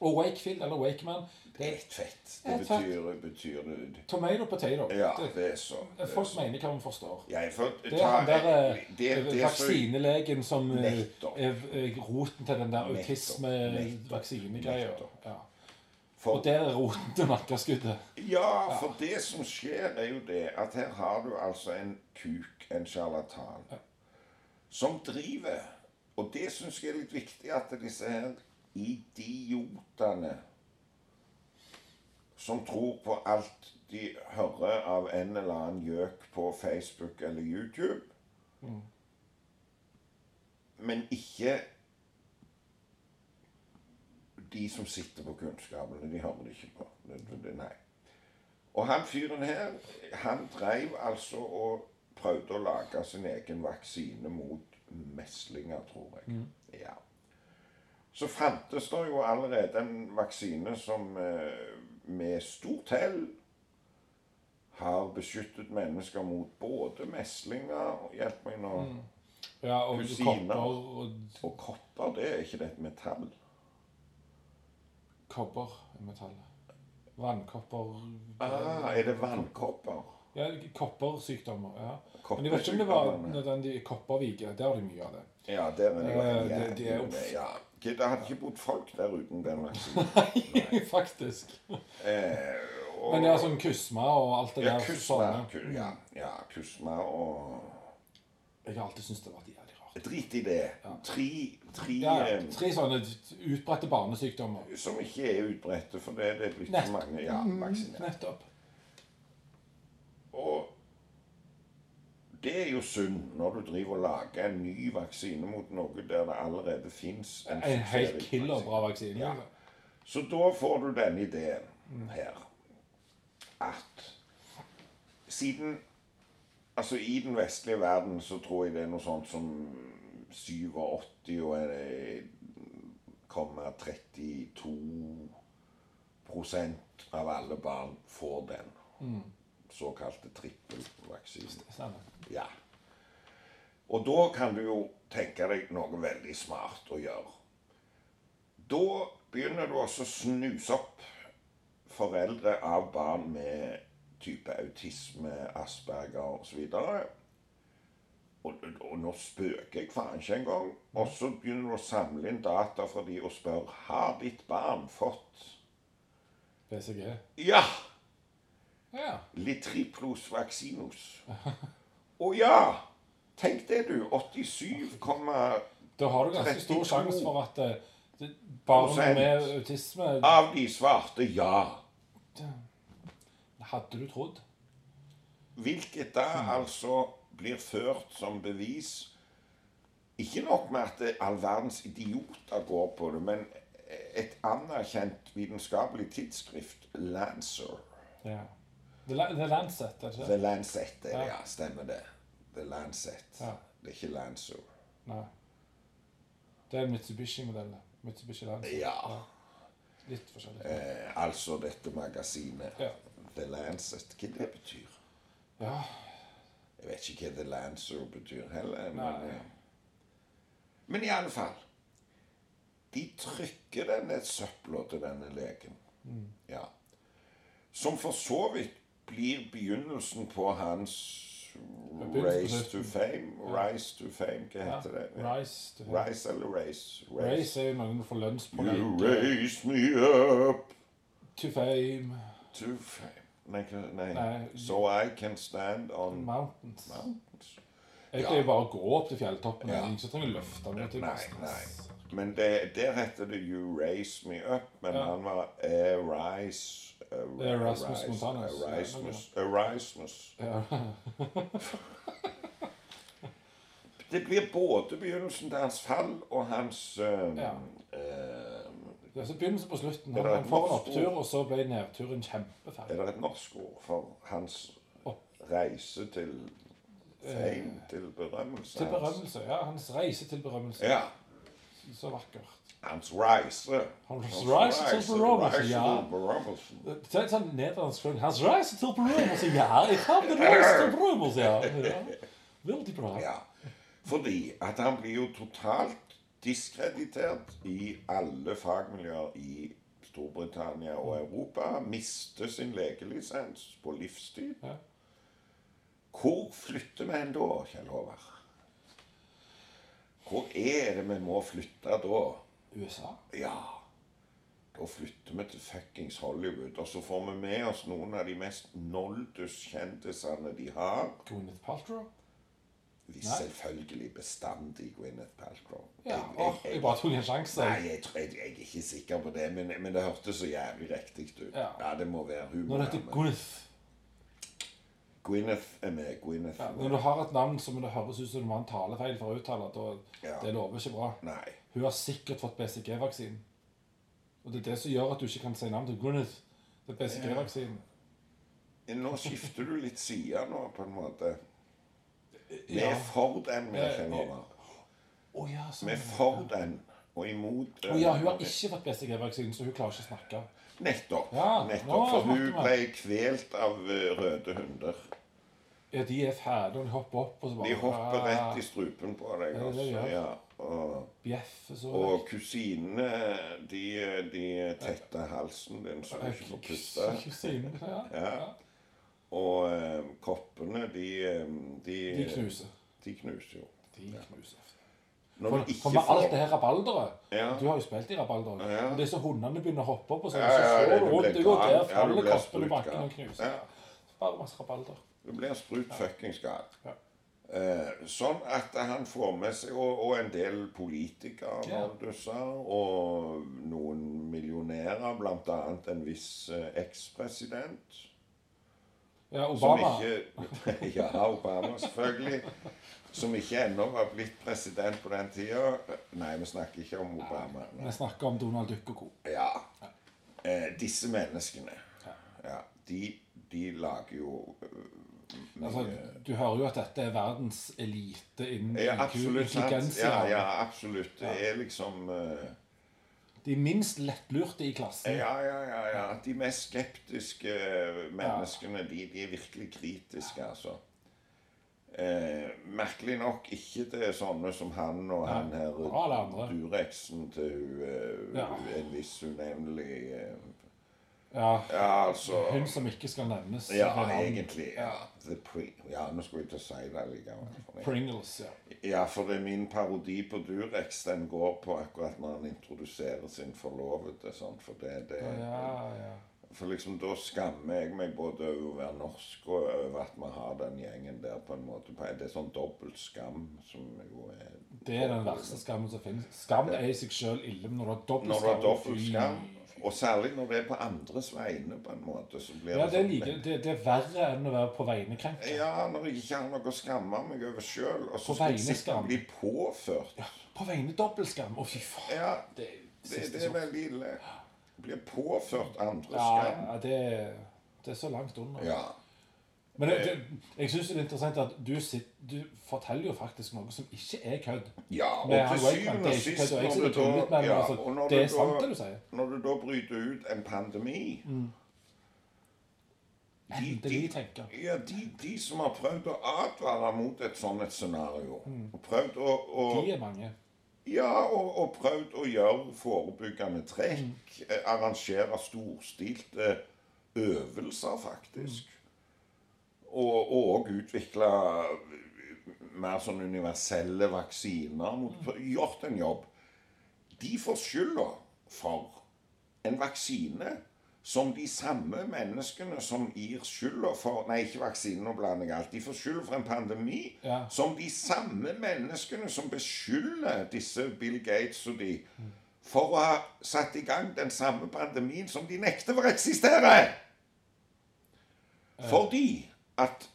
Og Wakefield eller Wakeman det er Helt fett. Det Helt fett. betyr, betyr det Tomato potato. Ja, Det, det er så. det er folk så. mener hva vi forstår. Jeg får Det er han der eh, det- det er så- vaksinelegen som eh, Nettopp. er eh, roten til den der Nettopp. Nettopp. autisme-vaksinegreia. Nettopp. Ja. for- Og der er roten til nakkeskuddet. Ja, for det som skjer, er jo det at her har du altså en kuk, en sjarlatan, som driver. Og det syns jeg er litt viktig, at disse her idiotene som tror på alt de hører av en eller annen gjøk på Facebook eller YouTube, men ikke de som sitter på kunnskapene. De hører det ikke på. Det, det, det- nei. Og han fyren her, han dreiv altså og prøvde å lage sin egen vaksine mot meslinger, tror jeg. Mm. Ja. Så fantes det jo allerede en vaksine som eh, med stort hell har beskyttet mennesker mot både meslinger og Hjelp meg nå. Mm. Ja, og Kusiner. kopper og Og kopper, det er ikke det et metall? kobber i metallet. Vannkopper Ah, er det vannkopper? Ja, koppersykdommer. ja. Men jeg vet ikke om det var nødvendig koppervike. Der har de mye av det. Ja, der er det jo Eh, en det- det er jo- jævlig med, ja. Gud, Det hadde ikke bodd folk der uten den vaksinen. Faktisk. Eh, og, Men det er sånn kusma og alt det ja, der. Kusma, sånne. ku, ja, ja, Kusma og Jeg har alltid syntes det har vært jævlig rart. Drit i det. Tre, tre Ja, ja. eh, Tre sånne utbredte barnesykdommer. som ikke er utbredte, for det det er blitt Nett- Mm. så mange ja, vaksinert. Nettopp. Og det er jo synd når du driver og lager en ny vaksine mot noe der det allerede fins en, En helt suksessrik vaksine. killerbra vaksine. Ja. liksom. Så da får du denne ideen her. At siden Altså i den vestlige verden så tror jeg det er noe sånt som 87 og eh, komma 32 av alle barn får den. Såkalte trippelvaksinen. Stemmer. Ja. Og da kan du jo tenke deg noe veldig smart å gjøre. Da begynner du også å snuse opp foreldre av barn med type autisme, Asperger osv. Og, og nå spøker jeg faen ikke engang. Og så begynner du å samle inn data fra de og spørre har ditt barn fått BCG. Ja! Ja. Litriplos vaccinus. Å ja! Tenk det, du. 87, komma- Da har du ganske stor 32 sjanse for at eh, det- barn Prosent. Ah. med autisme av de svarte ja. Hadde du trodd? Hvilket da altså blir ført som bevis. Ikke nok med at det- all verdens idioter går på det, men et anerkjent vitenskapelig tidsskrift, Lancer Ja. Det er det er Lancet, er det ikke? The Lancet, det, Ja. ja. Stemmer det. The Lancet. Ja. Det er ikke Lancer. Nei. Det er en Mitsubishi-modell. det. Mitsubishi Lancet. Ja. Litt forskjellig. Eh, altså dette magasinet. Ja. The Lancet. Hva det betyr? Ja. Jeg vet ikke hva The Lancer betyr heller. Nei. Men, eh, men i alle fall De trykker denne søpla til denne legen. Mm. Ja. Som for så vidt blir begynnelsen på hans Begynnelsen på Race to slutten. fame. Rise to fame, hva ja. heter det? Rise. to- Rise eller race? Race er jo noen du får lønns på. You like, raise me up äh, To fame. to fame. Nei, hva- nei. Nei. So I can stand on Mountains. Äh, mountains. Jeg Ja. pleier bare å gå opp til fjelltoppen. Ja. Jeg Ingen som trenger å løfte meg. til Nei, masten. nei. Men det, der heter det 'You Raise Me Up', men Ja. han var Erismus Det er Rasmus Montanus. er Erasmus. Erasmus. Ja. Det blir både begynnelsen til hans fall og hans eh, Ja. eh, Det er så begynnelsen på slutten. Er Han, det han får en norsk opptur, ord? og så ble nedturen kjempefæl. Er det et norsk ord for hans Opp. reise til fame, til berømmelse? Eh, Til hans- berømmelse. Ja, hans reise til berømmelse. Ja. Så vakkert. Hans reise. Hans reise til berømmelse, reise ja. til berømmelse. Det er en sånn nederlandsk sang. Hans reise til berømmelse, ja. Jeg har en reise til berømmelse, ja. ja. Veldig bra. Ja. Fordi at han blir jo totalt diskreditert i alle fagmiljøer i Storbritannia og Europa. Mister sin legelisens på livstid. Ja. Hvor flytter vi hen da, Kjell Håvard? Hvor er det vi må flytte da? USA. Ja, da flytter vi til fuckings Hollywood. Og så får vi med oss noen av de mest nolduskjendisene de har. Gwyneth Paltrow. Vi Nei. selvfølgelig bestandig Gwyneth Paltrow. Ja, åh, jeg bare tok en sjanse. Nei, jeg, tror- jeg, jeg er ikke sikker på det, men, men det hørtes så jævlig riktig ut. Ja. det må være hun. Når det heter men- Gwyneth Gwyneth er eh, med. Gwyneth ja, er Når med. du har et navn som det høres ut som det var en talefeil for å uttale, da Ja. det lover ikke bra. Nei. Hun har sikkert fått BCG-vaksinen. Og det er det som gjør at du ikke kan si navnet til Gwyneth. Det er BCG-vaksinen. Nå skifter du litt side nå, på en måte. Vi Ja. Eh, er for den, vi Ja, er ja. over. Å ja, sånn. Vi er for den, og imot eh, Å ja, hun har ikke fått BCG-vaksinen, så hun klarer ikke å snakke. Nettopp. Ja, nettopp nå for hun snakker vi. ble kvelt av eh, røde hunder. Ja, De er ferdige, og de hopper opp og så bare De hopper rett i strupen på deg. Ja, det er det de Altså. gjør. Ja, og... Bjeffer så Og kusinene, de, de tetter halsen din så du ikke får puste. Kusinen, ja. Ja. ja. Og eh, koppene, de, eh, de, De knuser. de knuser jo. De knuser. Når For, du ikke for med alt får det her rabalderet Ja. Du har jo spilt i rabalderet. Ja. Og disse hundene begynner å hoppe opp, og sånn, Ja, ja, så ja, slår du du rundt. blir Du går gal. der, Ja, du faller, blir kaster i sprutgal. bakken og knuser. Ja. Ja. Bare masse rabalder. Du blir sprut fuckings gal. Ja. Eh, sånn at han får med seg Og, og en del politikere, Ja. som du sa, og noen millionærer, blant annet en viss eh, ekspresident. Ja, Som Obama. ikke, ja, Obama selvfølgelig. Som ikke ennå var blitt president på den tida. Nei, vi snakker ikke om Obama. Vi snakker om Donald Duck og co. Ja. Eh, disse menneskene, ja, de, de lager jo øh, mye- Altså, du hører jo at dette er verdens elite innen ja, IQ, absolutt. Sant? intelligens, Ja, ja. ja, absolutt. Det er liksom eh, De minst lettlurte i klassen. Ja, ja, ja. ja. De mest skeptiske menneskene, de, de er virkelig kritiske, altså. Eh, merkelig nok ikke til sånne som han og han her og alle andre. Dureksen til hun, eh, Ja. en viss unevnelig eh, Ja. Ja, altså Hun som ikke skal nevnes. Ja, ved navn. egentlig. Ja, The pre ja nå skulle jeg til å si det likevel. Pringles, ja. Ja, for det er min parodi på Durex den går på akkurat når han introduserer sin forlovede. sånn, For det, det, Ja, ja. For liksom da skammer jeg meg både over å være norsk og over at vi har den gjengen der på en måte. Det er sånn dobbelt skam som jo er Det er den verste skammen som finnes. Skam er i seg sjøl ille, men når du har dobbelt Når du har dobbelt fy. skam, og særlig når det er på andres vegne, på en måte, så blir Ja, det er, sånn- like, det, det er verre enn å være på vegne krenkt. Ja, når jeg ikke har noe å skamme meg over sjøl, og så På skal jeg vegne sitte skam. og bli påført. På vegne dobbeltskam. Å, fy faen. Ja, Det, det, siste det er som- veldig ille. Blir påført andres skam. ja, ja, det, er- det er så langt under. Ja. Men det, det, jeg syns det er interessant at du, sitt, du forteller jo faktisk noe som ikke er kødd. Ja, og Men til han var ikke syvende og blant de sist som- jeg når sitter du og tuller litt med da ham, ja, altså, og når det er du sant, da- det du sier. Når du da bryter ut en pandemi de- Endelig, tenker jeg. Ja, de, de som har prøvd å advare mot et sånt et scenario, og prøvd å, å De er mange. Ja, og, og prøvd å gjøre forebyggende trekk, eh, arrangere storstilte øvelser, faktisk. Og og òg utvikle mer sånn universelle vaksiner. Mot, Gjort en jobb. De får skylda for en vaksine som de samme menneskene som gir skylda for Nei, ikke vaksinen og blanding alt. De får skyld for en pandemi. Ja. Som de samme menneskene som beskylder disse Bill Gates og de for å ha satt i gang den samme pandemien som de nekter for å eksistere. Fordi at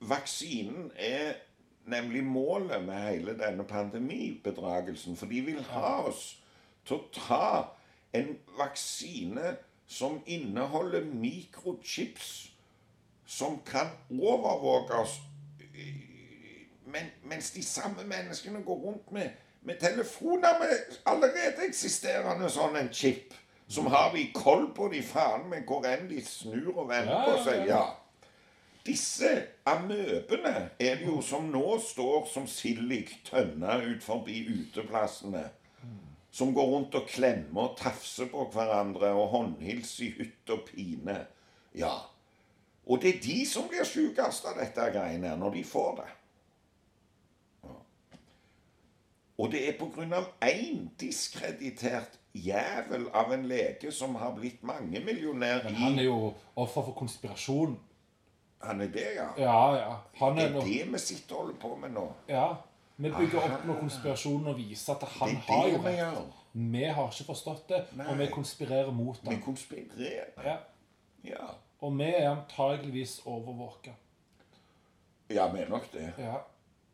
vaksinen er nemlig målet med hele denne pandemibedragelsen. For de vil ha oss til å ta en vaksine som inneholder mikrochips som kan overvåke oss. Men, mens de samme menneskene går rundt med, med telefoner med allerede eksisterende sånn en chip. Som har de koll på de faen meg hvor enn de snur og vender Ja, på ja, seg. ja. ja. Disse amøbene er det jo som nå står som sild i tønne ut forbi uteplassene. Som går rundt og klemmer og tafser på hverandre og håndhilser i hytt og pine. Ja. Og det er de som blir sjukest av dette greiene her, når de får det. Ja. Og det er på grunn av én diskreditert jævel av en lege som har blitt mangemillionær Men i han er jo offer for konspirasjon. Han er det, ja. Ja, ja. Han Det er er noe, det vi sitter og holder på med nå. ja. Vi bygger opp noen konspirasjon og viser at Det han har er jo det vi rett. gjør. Vi har ikke forstått det, og vi Nei. konspirerer mot Vi det. konspirerer. Ja. Ja. Og vi er antageligvis overvåka. ja, vi er nok det. Ja.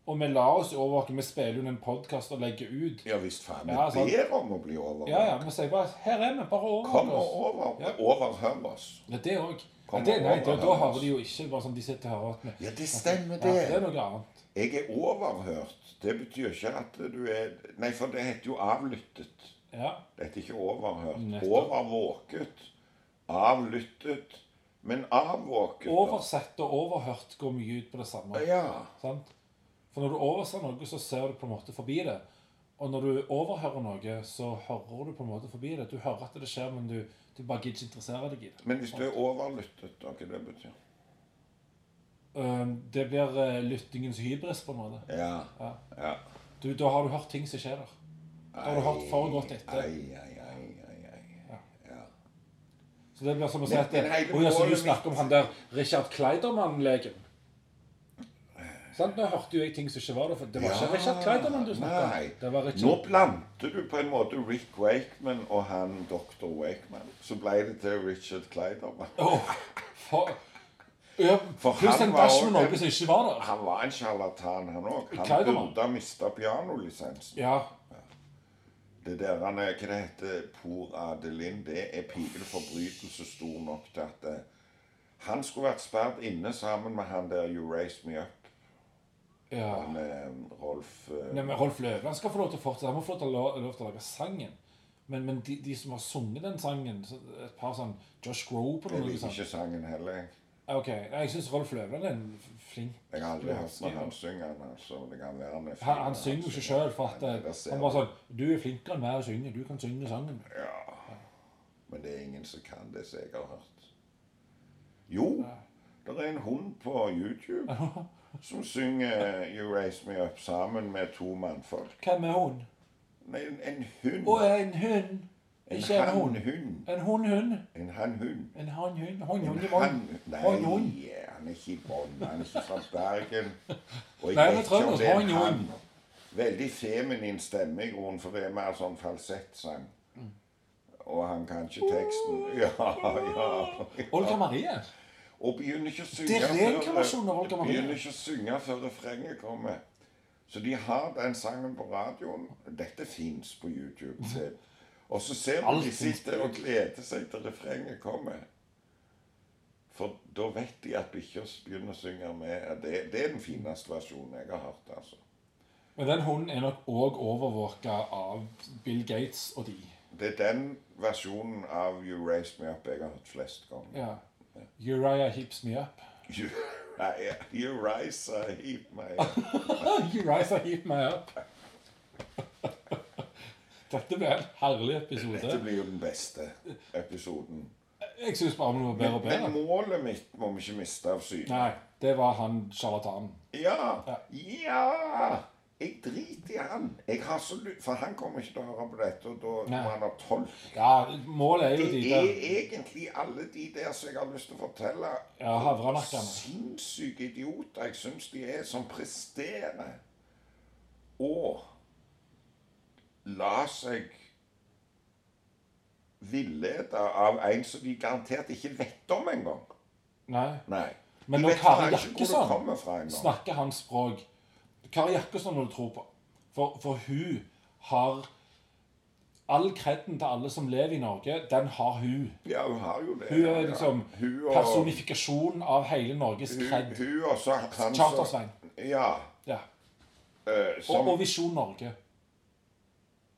Og vi lar oss overvåke. Vi spiller jo en podkast og legger ut. Ja visst faen. Ja, Vi sant. ber om å bli overvåket. Ja, ja. Vi sier bare 'Her er vi. Bare Kom overvåk og oss'. over, Ja. overhør oss. Ja, det òg. Ja, Kom det, og nei, da, da overhør hører oss. de jo ikke bare sånn de sitter og hører at vi Ja, det stemmer, Ja, det er det. noe annet. Jeg er overhørt. Det betyr ikke at du er Nei, for det heter jo avlyttet. Ja. Det heter ikke overhørt. Nettopp. Overvåket. Avlyttet. Men avvåket. da. Oversett og overhørt går mye ut på det samme. Ja. Sant? For når du overser noe, så ser du på en måte forbi det. Og når du overhører noe, så hører du på en måte forbi det. Du hører at det skjer, men du, du bare gidder ikke interessere deg i det. Men hvis du er overlyttet, da, hva det betyr Øhm, Det blir eh, lyttingens hybris på en måte. Ja. Ja. ja. Du, da har du hørt ting som skjer der. Da har du hørt for godt etter. Ai, ai, ai, ai, ai. Ja. Så det blir som å si Men- at det, men hele Oi, altså, du målet snakker om mitt- han der Richard Kleidermann-legen. Sant? Nå hørte jo jeg ting som ikke var der, for det var ikke Richard Kleidermann du snakket Nei. om. Det var Nå Richard... blandte du på en måte Rick Wakeman og han Dr. Wakeman. Så ble det til Richard Kleiderman. Åh, for... Ja, For pluss han en var dash med også- noe som ikke var der. Han var en sjarlatan, han òg. Han Kleiderman. burde ha mista pianolisensen. Ja, Det der han er, Hva det heter Por Adelin? Det er pinlig forbrytelse stor nok til at eh, Han skulle vært sperret inne sammen med han der You Raised Me Up. ja. Med Rolf eh, Nei, men Rolf Løvland skal få lov til å fortsette. Han må få lov til å, la- lov til å lage sangen. Men, men de, de som har sunget den sangen, så et par sånn Josh Groban Jeg og noe liker sånt ikke sangen heller. jeg. Ja, liksom. Ok, Nei, Jeg syns Rolf Løvland er en f- flink Jeg har aldri hørt når låtskriver. han synger den. altså. Det kan være han er Han, han synger jo ikke sjøl, for at Men det eh, ser han bare sånn Du er flinkere enn meg å synge. Du kan synge sangen. Ja. Men det er ingen som kan det som jeg har hørt. Jo, det er en hund på YouTube som synger 'You Raise Me Up' sammen med to mannfolk. Hvem er hun? Nei, en, en hund. Å, en hund. En Ikke en hund. hannhund. En hundhund. En hannhund. En hannhund. Hannhund i vann. Han, nei, Hannhund. han er ikke i Bonn. Han er ikke fra Bergen. Og jeg vet Nei, ikke men om Trønders det er en hannhund. han. Veldig feminin stemme i grunnen, for det er mer sånn falsettsang. Mm. Og han kan ikke teksten. Ja, ja. Olga Marie. Og begynner ikke å synge Det er ren kremasjon av Olga Maria. begynner ikke å synge før refrenget kommer. Så de har den sangen på radioen. Dette fins på YouTube. Se. Og så ser du Alt de finnes sitter og gleder seg til refrenget kommer. For da vet de at bikkja begynner å synge med. Det, det er den fineste versjonen jeg har hørt. altså. Men den hunden er nok òg overvåka av Bill Gates og de. Det er den versjonen av You Raised Me Up jeg har hørt flest ganger. Ja. Uriah heaps me up. You, nei, you uh, rise, I heap my Uriah heap me up. Dette ble en herlig episode. Dette blir jo den beste episoden. Jeg syns bare det var bedre og Men bedre. målet mitt må vi ikke miste av syne. Nei, det var han sjarlatanen. Ja! Ja! Jeg driter i han. Jeg har så lyst, For han kommer ikke til å høre på dette, og da må Nei. han ha tolk. Ja, målet er jo de Det er der egentlig alle de der som jeg har lyst til å fortelle ja, havrenakkene. sinnssyke idioter jeg syns de er, som presterer og la seg villede av en som de garantert ikke vet om engang. Nei. Nei. Men de når vet Kari faen ikke hvor det Jakkesson kommer fra engang. snakker hans språk Kari Jakkesson må du tro på. For, for hun har All kreden til alle som lever i Norge, den har hun. Ja, hun har jo det. Hun er ja. liksom Hun og- personifikasjon av hele Norges Hun, kred. hun og så han som- Chartersvein. Ja. Ja. eh, Og, som, og Visjon Norge.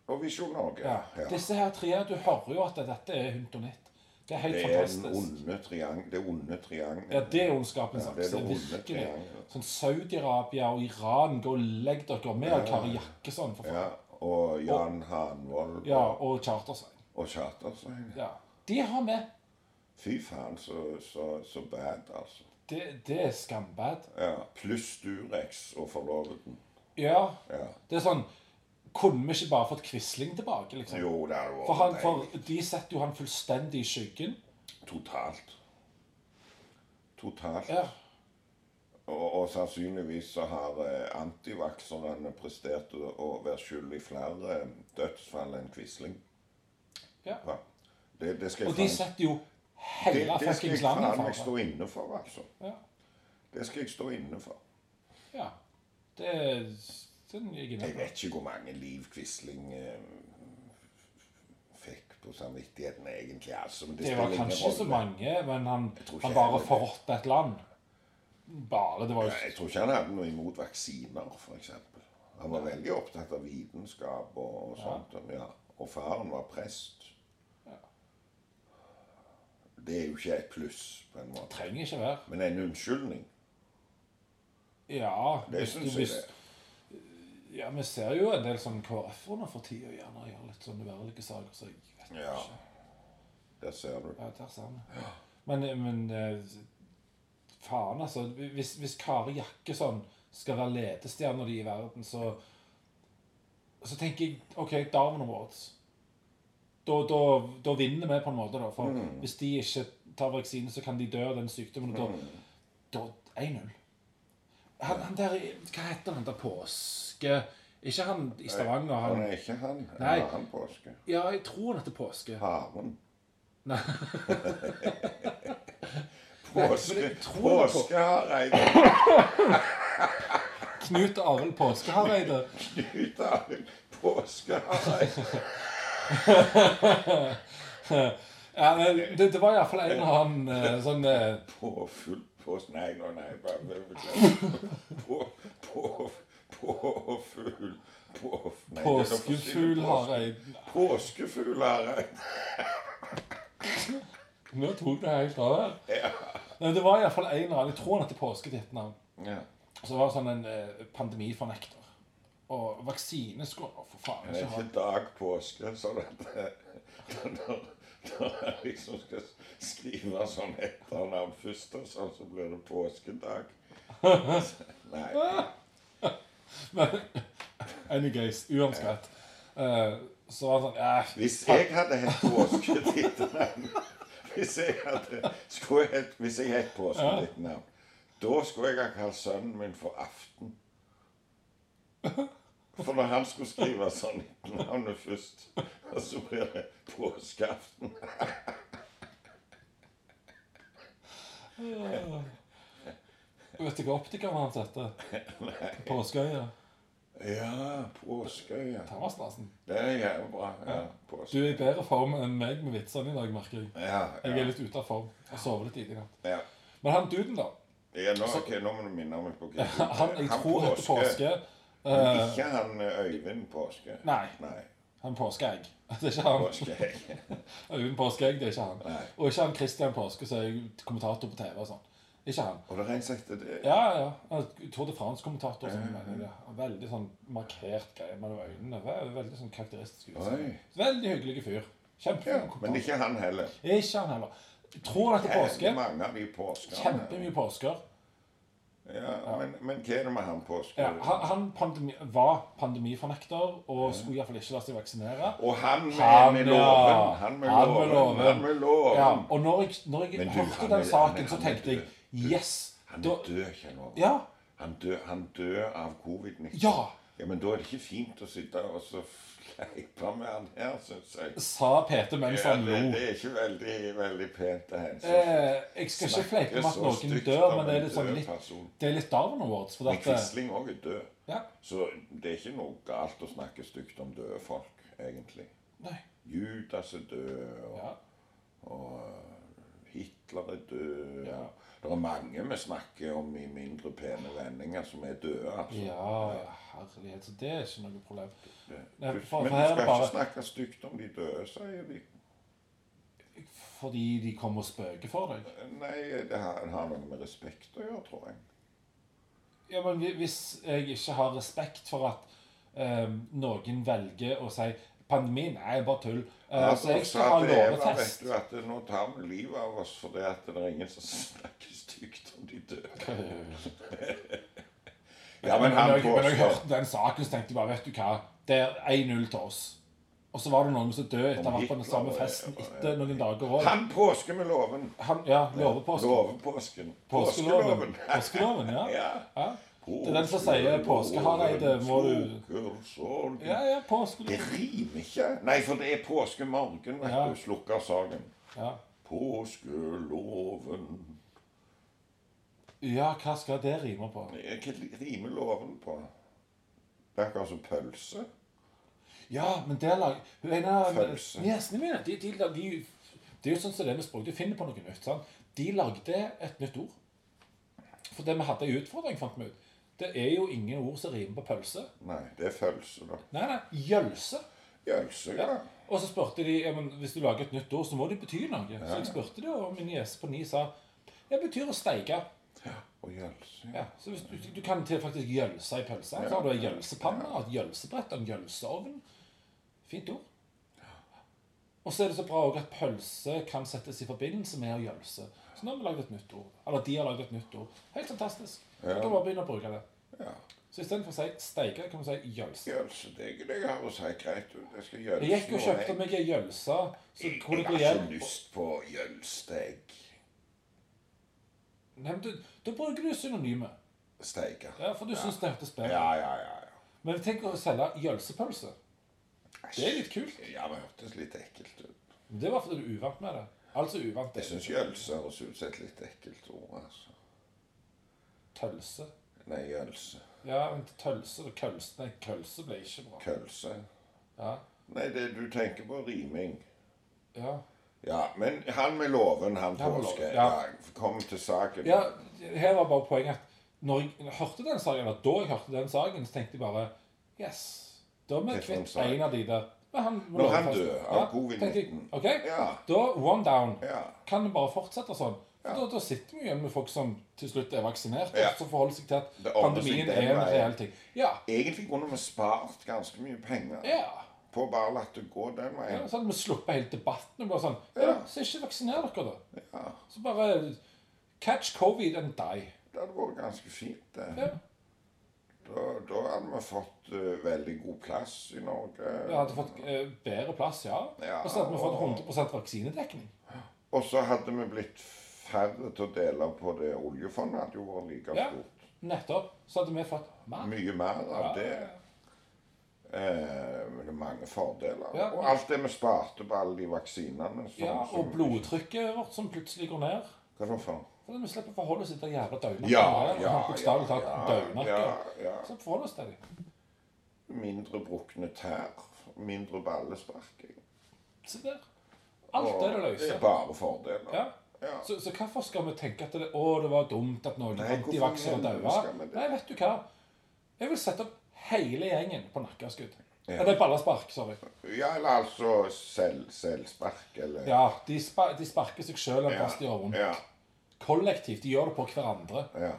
og Visjon Norge. Ja. ja. Disse her tre, du hører jo at dette er hund og nett. Det er helt Det er den fantastisk. onde triangel. Det onde triangel. Ja, det er ondskapens Ja, det er akse. det onde, Virkelig. ja, ja. Sånn Saudi-Arabia og Iran, gå og legg dere med og Kari Jakkesson, for faen. Ja, og Jan Hanvold Ja, og Chartersveien. og Chartersveien. Ja. De har med. Fy faen, så, så, så bad, altså. Det, det er skambad. Ja, Pluss Durex og forloveden. Ja. Ja. Det er sånn Kunne vi ikke bare fått Quisling tilbake, liksom? Jo, det hadde For, han, vært for deilig. de setter jo han fullstendig i skyggen. Totalt. Totalt. Ja. Og, og sannsynligvis så har eh, antivakserne prestert å, å være skyld i flere eh, dødsfall enn Quisling. Ja. Ja. Det, det skal jeg Og de faen- setter jo det, hele det skal jeg fuckings landet faen meg for. stå inne for, altså. Ja. Det skal jeg stå inne for. ja. Det er den jeg er Jeg med på. vet ikke hvor mange liv Quisling eh, fikk på samvittigheten egentlig, altså. Men det, Det spiller var ingen kanskje ikke så rolle. mange, men han, tror ikke han jeg bare vet det. forrådte et land. Bare. Det var jo Jeg tror ikke han hadde noe imot vaksiner, f.eks. Han var veldig opptatt av vitenskap og, og sånt. Ja. Og faren var prest. Det er jo ikke et pluss, på en måte. Trenger ikke være. Men en unnskyldning. Ja, Det hvis du- syns jeg hvis- det. Ja, vi ser jo en del sånn KrF-er nå for tida gjerne gjør litt sånn uærlige saker, så jeg vet Ja. ikke. Der ser du. Ja, der ser vi. Men, men eh, faen, altså. Hvis, hvis Kari Jakkesson skal være ledestjerna di i verden, så Så tenker jeg OK, Darwin Awards. Da, da, da vinner vi på en måte, da. For hvis de ikke tar vaksine, så kan de dø av den sykdommen. Og da, da 1-0. Han, han der Hva heter han der påske...? Ikke han i Stavanger, Han han er ikke han. Nei. Han er han påske. Ja, jeg tror han heter Påske. Haren. Nei. Nei, men Påske, jeg tror det er på- påske Hareide. Knut Arild Påskehareide. ut av påskehareid. Ja, men det, det var iallfall en eller annen eh, sånn eh, På full pås... Nei, nå, nei, bare bare beklager. På, på, på fugl på, nei, det er noe påskefugl forskjellig. Hareide. Påskefugl Hareid. Nå tok det helt av her. Nei, Det var iallfall en eller annen Jeg tror han heter Påske til et navn. Ja. Så var det sånn en eh, pandemifornekter. Og vaksine skulle å, for faen Det er ikke ha. ikke dag påske, sånn at eh, når, når jeg liksom skal skrive sånn etternavn først, og sånn, så blir det påskedag. Nei. Men anyways, uansett. Eh, så var det sånn eh, Hvis jeg hadde hett påske ditt navn Hvis jeg hadde skulle hett, Hvis jeg hett påske ditt navn Da skulle jeg ha kalt sønnen min for Aften. For når han skulle skrive sånn navnet først, så blir det påskeaften. Vet du hva optikeren hans heter? Påskeøya. Ja, påskeøya. Thomasplassen. Det er jævlig bra. Ja, Du påske. er i bedre form enn meg med vitsene i dag, merker jeg. Ja, Jeg ja, er litt ute av form. Jeg sover litt lite i natt. ja. Men han duden, da. ja nå, ok, nå må du minne meg på hva Altså- Han, jeg tror heter Påske. Men Ikke han eh, Øyvind Påske. Nei. Nei. Han Påskeegg. Det er ikke han. Påskeegg. Øyvind Påskeegg, det er ikke han. Nei. Og ikke han Christian Påske, som er kommentator på TV og sånn. Ikke han. Og det er rent slett det Ja, ja. ja. Tour de France-kommentator. Sånn, mener jeg. det. Veldig sånn markert greie mellom øynene. Ve- Veldig sånn karakteristisk utseende. Oi. Veldig hyggelig fyr. Ja, Kjempefin men kommentator. ikke han heller. Ikke han heller. Tror han heter Påske. Påske. Mange av de påskene. Kjempemye påsker. Ja, men, men hva er det med han påske? Ja, han han pandemi, var pandemifornekter og skulle iallfall ikke la seg vaksinere. Og han med, Han, med ja. låven. Han med Han med låven. låven. Han med låven. Ja, og når jeg, når jeg Men du, hørte han er- den saken, han er- så han er tenkte jeg død. Yes! Han Da, er død, kjenner du. ja, Han dør, han dør av covid-19. Ja. ja, Men da er det ikke fint å sitte og så fleipe med han her, syns jeg. sa Peter mens Ja, han det, lo. det er ikke veldig, veldig pent av hensyn. liksom Eh, jeg skal ikke fleipe med at så noen stygt dør, om men det er en litt sånn død litt, person. det er litt Darwin Awards. For Men at, eh, Quisling òg er død. ja, Så det er ikke noe galt å snakke stygt om døde folk, egentlig. nei, Judas er død, og, ja, og Hitler er død. Ja. og Det er mange vi snakker om i mindre pene vendinger som er døde. altså. ja, ja, herlighet. Så det er ikke noe problem. Det- Nei, du- for- for Men her du er skal det ikke bare- snakke stygt om de døde, sier de. Fordi de kommer og spøker for deg. Nei, det har, det har noe med respekt å gjøre, tror jeg. Ja, men hvi- hvis jeg ikke har respekt for at eh, noen velger å si pandemien er bare tull, eh, så jeg skal ha at det er- låvetest. altså, Vet du at det- nå tar vi livet av oss fordi at det er ingen som snakker stygt om de døde. Ja, men når han jeg- men når jeg påstår hørte den saken, så tenkte jeg bare, vet du hva, det er 1-0 til oss. Og så var det noen som døde etter å ha vært på den samme festen etter noen dager òg. Han påske med låven. Han, ja, lover påske. Låvepåsken. Påskeloven. Påskeloven. Påskeloven, ja. Ja. ja. Det er den som sier 'påskehareide, må du Påskeloven, Ja, ja, Det påskeloven. rimer ikke. Nei, for det er påskemorgen, vet Ja. du. Slukker sagen. Ja. Påskeloven ja, hva skal det rime på? Hva rimer loven på? Det er akkurat som pølse. Ja, men der lag... Hun ene av Pølse. niesene mine de, de, lag- de, Det er jo sånn som det med språk. Du finner på noe nytt. sant? De lagde et nytt ord. For det vi hadde en utfordring, fant vi ut. Det er jo ingen ord som rimer på pølse. Nei, det er pølse, da. Nei, nei, jølse. Pølse, ja. Og så spurte de ja, men hvis du lager et nytt ord, så må det bety noe. Så jeg spurte det, og min niese på ni sa det betyr å steike. Og jølse. Ja, så hvis du, du kan til faktisk jølse i pølse. Så har du en jølsepanne, et jølsebrett, en jølseovn. Fint ord. Og så er det så bra også at pølse kan settes i forbindelse med å jølse. Så nå har vi lagd et nytt ord. Eller de har lagd et nytt ord. Helt fantastisk. Da kan vi bare begynne å bruke det. Ja. Så istedenfor å si steike, kan vi si jølse. Jølse, det er ikke det jeg har å si. Greit, du. Jeg skal jølse. Jeg gikk og nå, kjøpte jeg- meg ei jølse. Så kunne Jeg jeg gå har ikke hjem lyst på jølsteig. Nei, men du- Da bruker du synonymer. Steika. Ja, for du syns det hørtes Ja, bedre ut. ja, ja. ja. Men tenk å selge jølsepølse. Det er litt kult. Ja, men det hørtes litt ekkelt ut. Men Det var fordi du er uvant med det. Altså Jeg uvant det. syns jølse høres ut som et litt ekkelt ord, altså. Tølse. Nei, jølse. Ja, men tølse og kølse Nei, kølse ble ikke bra. Kølse. Ja. Nei, det du tenker på, riming. Ja, Ja, men han med låven, han Han med påske. låven, Ja. ja. kom til saken. ja her var bare poenget at når jeg hørte den saken, eller da jeg hørte den saken, så tenkte jeg bare Yes. Da er vi Det er kvitt sånn sak. en av de der. Men han må Når låne han fast- dør av Ja, covid-19. tenkte jeg, OK, Ja. da one down. Ja. Kan det bare fortsette sånn? For da, da sitter vi igjen med folk som til slutt er vaksinert, Ja. og så forholder seg til at Det ordner seg pandemien den er en veien. reell ting. Ja. Egentlig kunne vi spart ganske mye penger ja. på å bare latt det gå den Ja, veien. så hadde vi sluppet hele debatten. og bare sånn, ja, Så ikke vaksiner dere, da. Så bare catch covid and die. Det hadde vært ganske fint, det. Ja. Da, da hadde vi fått eh, veldig god plass i Norge. Vi hadde fått eh, bedre plass, ja. Ja, Og så hadde vi fått og- 100 vaksinedekning. Og så hadde vi blitt færre til å dele på det oljefondet. hadde jo vært like Ja, stort. nettopp. Så hadde vi fått mer. Mye mer av Ja. det. Eh, men det er mange fordeler. Ja. Og alt det vi sparte på alle de vaksinene. som- Ja, som- Og blodtrykket vårt som plutselig går ned. Hva er det for? Fordi vi slipper å forholde oss til det jævla døgnakket. Ja, ja, Bokstavelig ja, talt ja, døgnakket. ja, ja. Så forholder vi oss til det. Mindre brukne tær, mindre ballesparking. Se der. Alt er det Det løse. er bare fordeler. Ja. Ja. Så, så hvorfor skal vi tenke at det, å, det var dumt at noen Nei, hvorfor antivaksere i helvete daua? skal vi det? Nei, vet du hva? Jeg vil sette opp hele gjengen på nakkeskudd. Ja. Eller ballaspark, sorry. Ja, eller altså selv, selvspark, eller Ja, de, spa, de sparker seg sjøl en ja. plass de gjør vondt. ja, Kollektivt. De gjør det på hverandre. ja.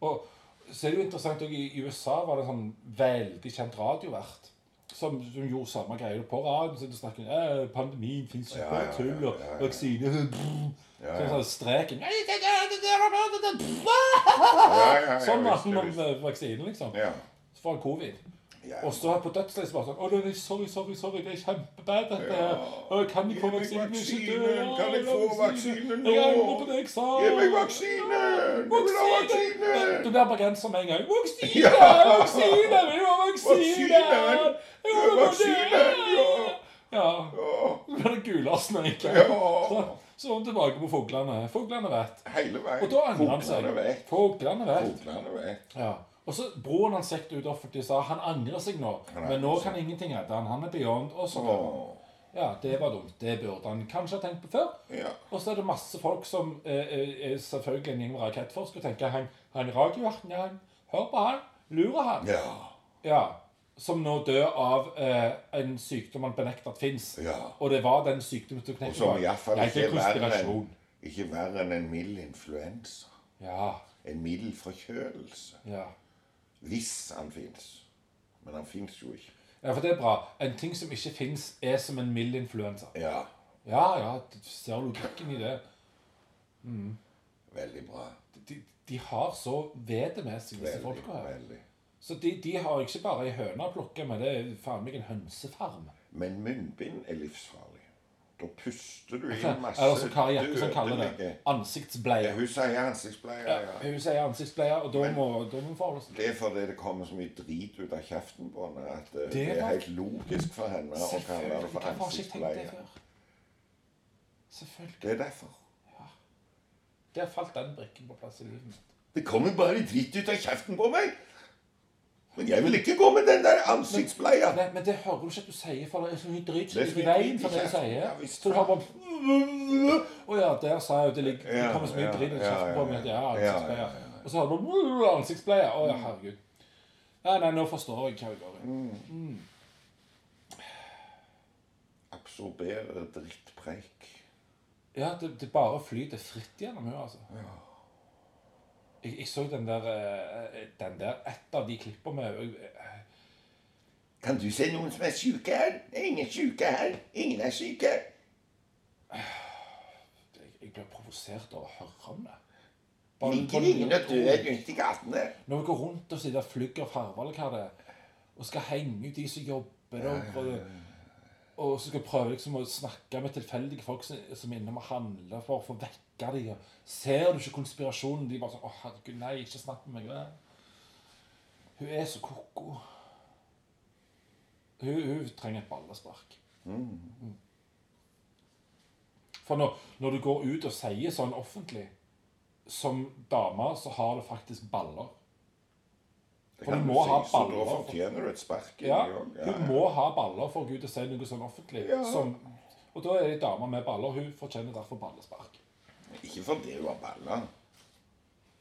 Og så er det jo interessant også, I i USA var det en sånn veldig kjent radiovert som, som gjorde samme greia på radioen. Så de snakket om pandemien fins ikke, Ja, bare ja, tull, ja, og ja, ja. vaksine brr. Ja, Sånn ja. sånn streken Ja, ja, ja, Sånn var visst, han om visst. eh, vaksinen, liksom. Ja. Så får han covid. ja. Og så på dødsleiet bare sånn Å, nei, sorry, sorry, sorry, det er kjempebad, dette her. Å, Kan jeg få Gi meg vaksinen? Ikke dø. vaksinen. Kan jeg Ja, få vaksinen Jeg angrer nå? på det jeg sa. Gi meg vaksine! Du vil ha vaksine! Du blir bergenser med en gang. Vaksine! Ja. Vaksine! Vil du ha vaksine? Vaksinen! Jeg vil ha Vaksinen, ja. Ja. Å, Så blir det gulasen når jeg ikke Ja. Så så er vi tilbake på fuglene. Fuglene vet. Hele veien. Og da angrer han seg. Fuglene vet. Fuglene vet. Fuglene vet. Ja. Og så Broren hans gikk ut offentlig og sa han angrer seg nå, Han men nå angrer seg. kan ingenting redde han. Han er beyond. Og så Å, Ja, det var dumt. Det burde han kanskje ha tenkt på før. ja. Og så er det masse folk som eh, eh, er selvfølgelig en gjeng med rakettforskere og tenker han, han radioverten, ja, han, hør på han, lurer han. Ja. Ja, som nå dør av eh, en sykdom han benekter at fins. Ja. Og det var den sykdommen som knekte Og som iallfall Nei, ikke er verre enn konspirasjon. ikke verre enn en mild influensa. Ja, En mild forkjølelse. ja. Hvis han fins. Men han fins jo ikke. Ja, for det er bra. En ting som ikke fins, er som en mild influensa. Ja. Ja, ja, du ser logikken i det. Veldig bra. De, de har så vedet med seg, disse Veldig, folka her. veldig. Så de, de har ikke bare ei høne å plukke, men det er faen meg en hønsefarm. Men munnbind er livsfarlig. Da puster du Ja, inn masse Eller som Kari Jakkesson kaller det. dødelige- Ja, Ansiktsbleie. hun sier ansiktspleie. Ja. Hun sier ansiktsbleie, og da må da må vi forholde oss Det er fordi det kommer så mye drit ut av kjeften på henne at eh, det Det er var- helt logisk for henne å kalle det Selvfølgelig. for Hvorfor har jeg ikke tenkt det ansiktspleie. før? Selvfølgelig. Det er derfor. Der falt den brikken på plass i livet mitt. Det kommer bare dritt ut av kjeften på meg. Men jeg vil ikke gå med den der ansiktspleia. Nei, men det hører du ikke at du sier, for det er så mye drit som Det er så ligger mye i veien drit i for det jeg kjeften. sier. Ja, visst. Så du har bare Å ja, der sa jeg jo det ligger Det Ja, kommer så mye ja, drit i ja, kjeften på meg at jeg har ja, ja, ansiktspleie. ja, Mm. Og så har du bare ansiktspleie. Å ja, herregud. Nei, nei, nå forstår jeg hva jeg går i. Absorberer drittpreik. Ja, det, det bare flyter fritt gjennom henne, altså. Jeg, jeg så den der, eh, den der Et av de klippene med eh, Kan du se noen som er syke her? Det er ingen syke her. Ingen er syke. Jeg, jeg ble provosert av å høre om det. Bare- Ligger bare ingen og når vi går dør rundt- rundt i gatene? Når vi går rundt og sitter og flygger farver eller hva det er, og skal henge ut de som jobber der, og, og så skal prøve liksom å snakke med tilfeldige folk som, som er innom og handler for å få vekke de, og ser du ikke konspirasjonen? De bare sånn, å herregud, nei, ikke snakk med meg. Nei. Hun er så koko. Hun, hun trenger et ballespark. Mm. For når, når du går ut og sier sånn offentlig, som dame så har du faktisk baller. Det For kan du du må ha si, så da baller for- fortjener du et spark. Ja, i gang. hun må ha baller for Gud å si noe sånn offentlig. Ja. Som, og da er det ei dame med baller. Hun fortjener derfor ballespark. Ikke fordi hun har baller,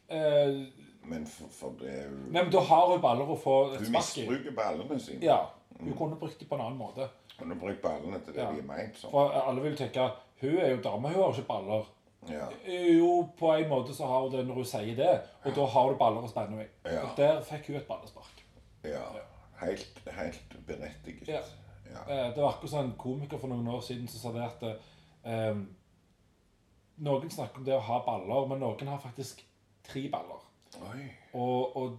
Eh, men for- fordi hun nei, men da har hun baller å få et Hun spark i. misbruker Mm. ballene sine. Ja, hun kunne brukt det på en annen måte. Hun har brukt ballene til det Ja. de er meint som. For eh, alle vil tenke hun er jo dame, hun har jo ikke baller. Ja. Jo, på en måte så har hun det når hun sier det, og da har du baller å spenne med. Ja. Og der fikk hun et ballespark. ja. Helt, helt berettiget. Ja. Ja. Eh, Det var akkurat sånn en komiker for noen år siden som sa det at eh, Noen snakker om det å ha baller, men noen har faktisk tre baller. Oi. Og, og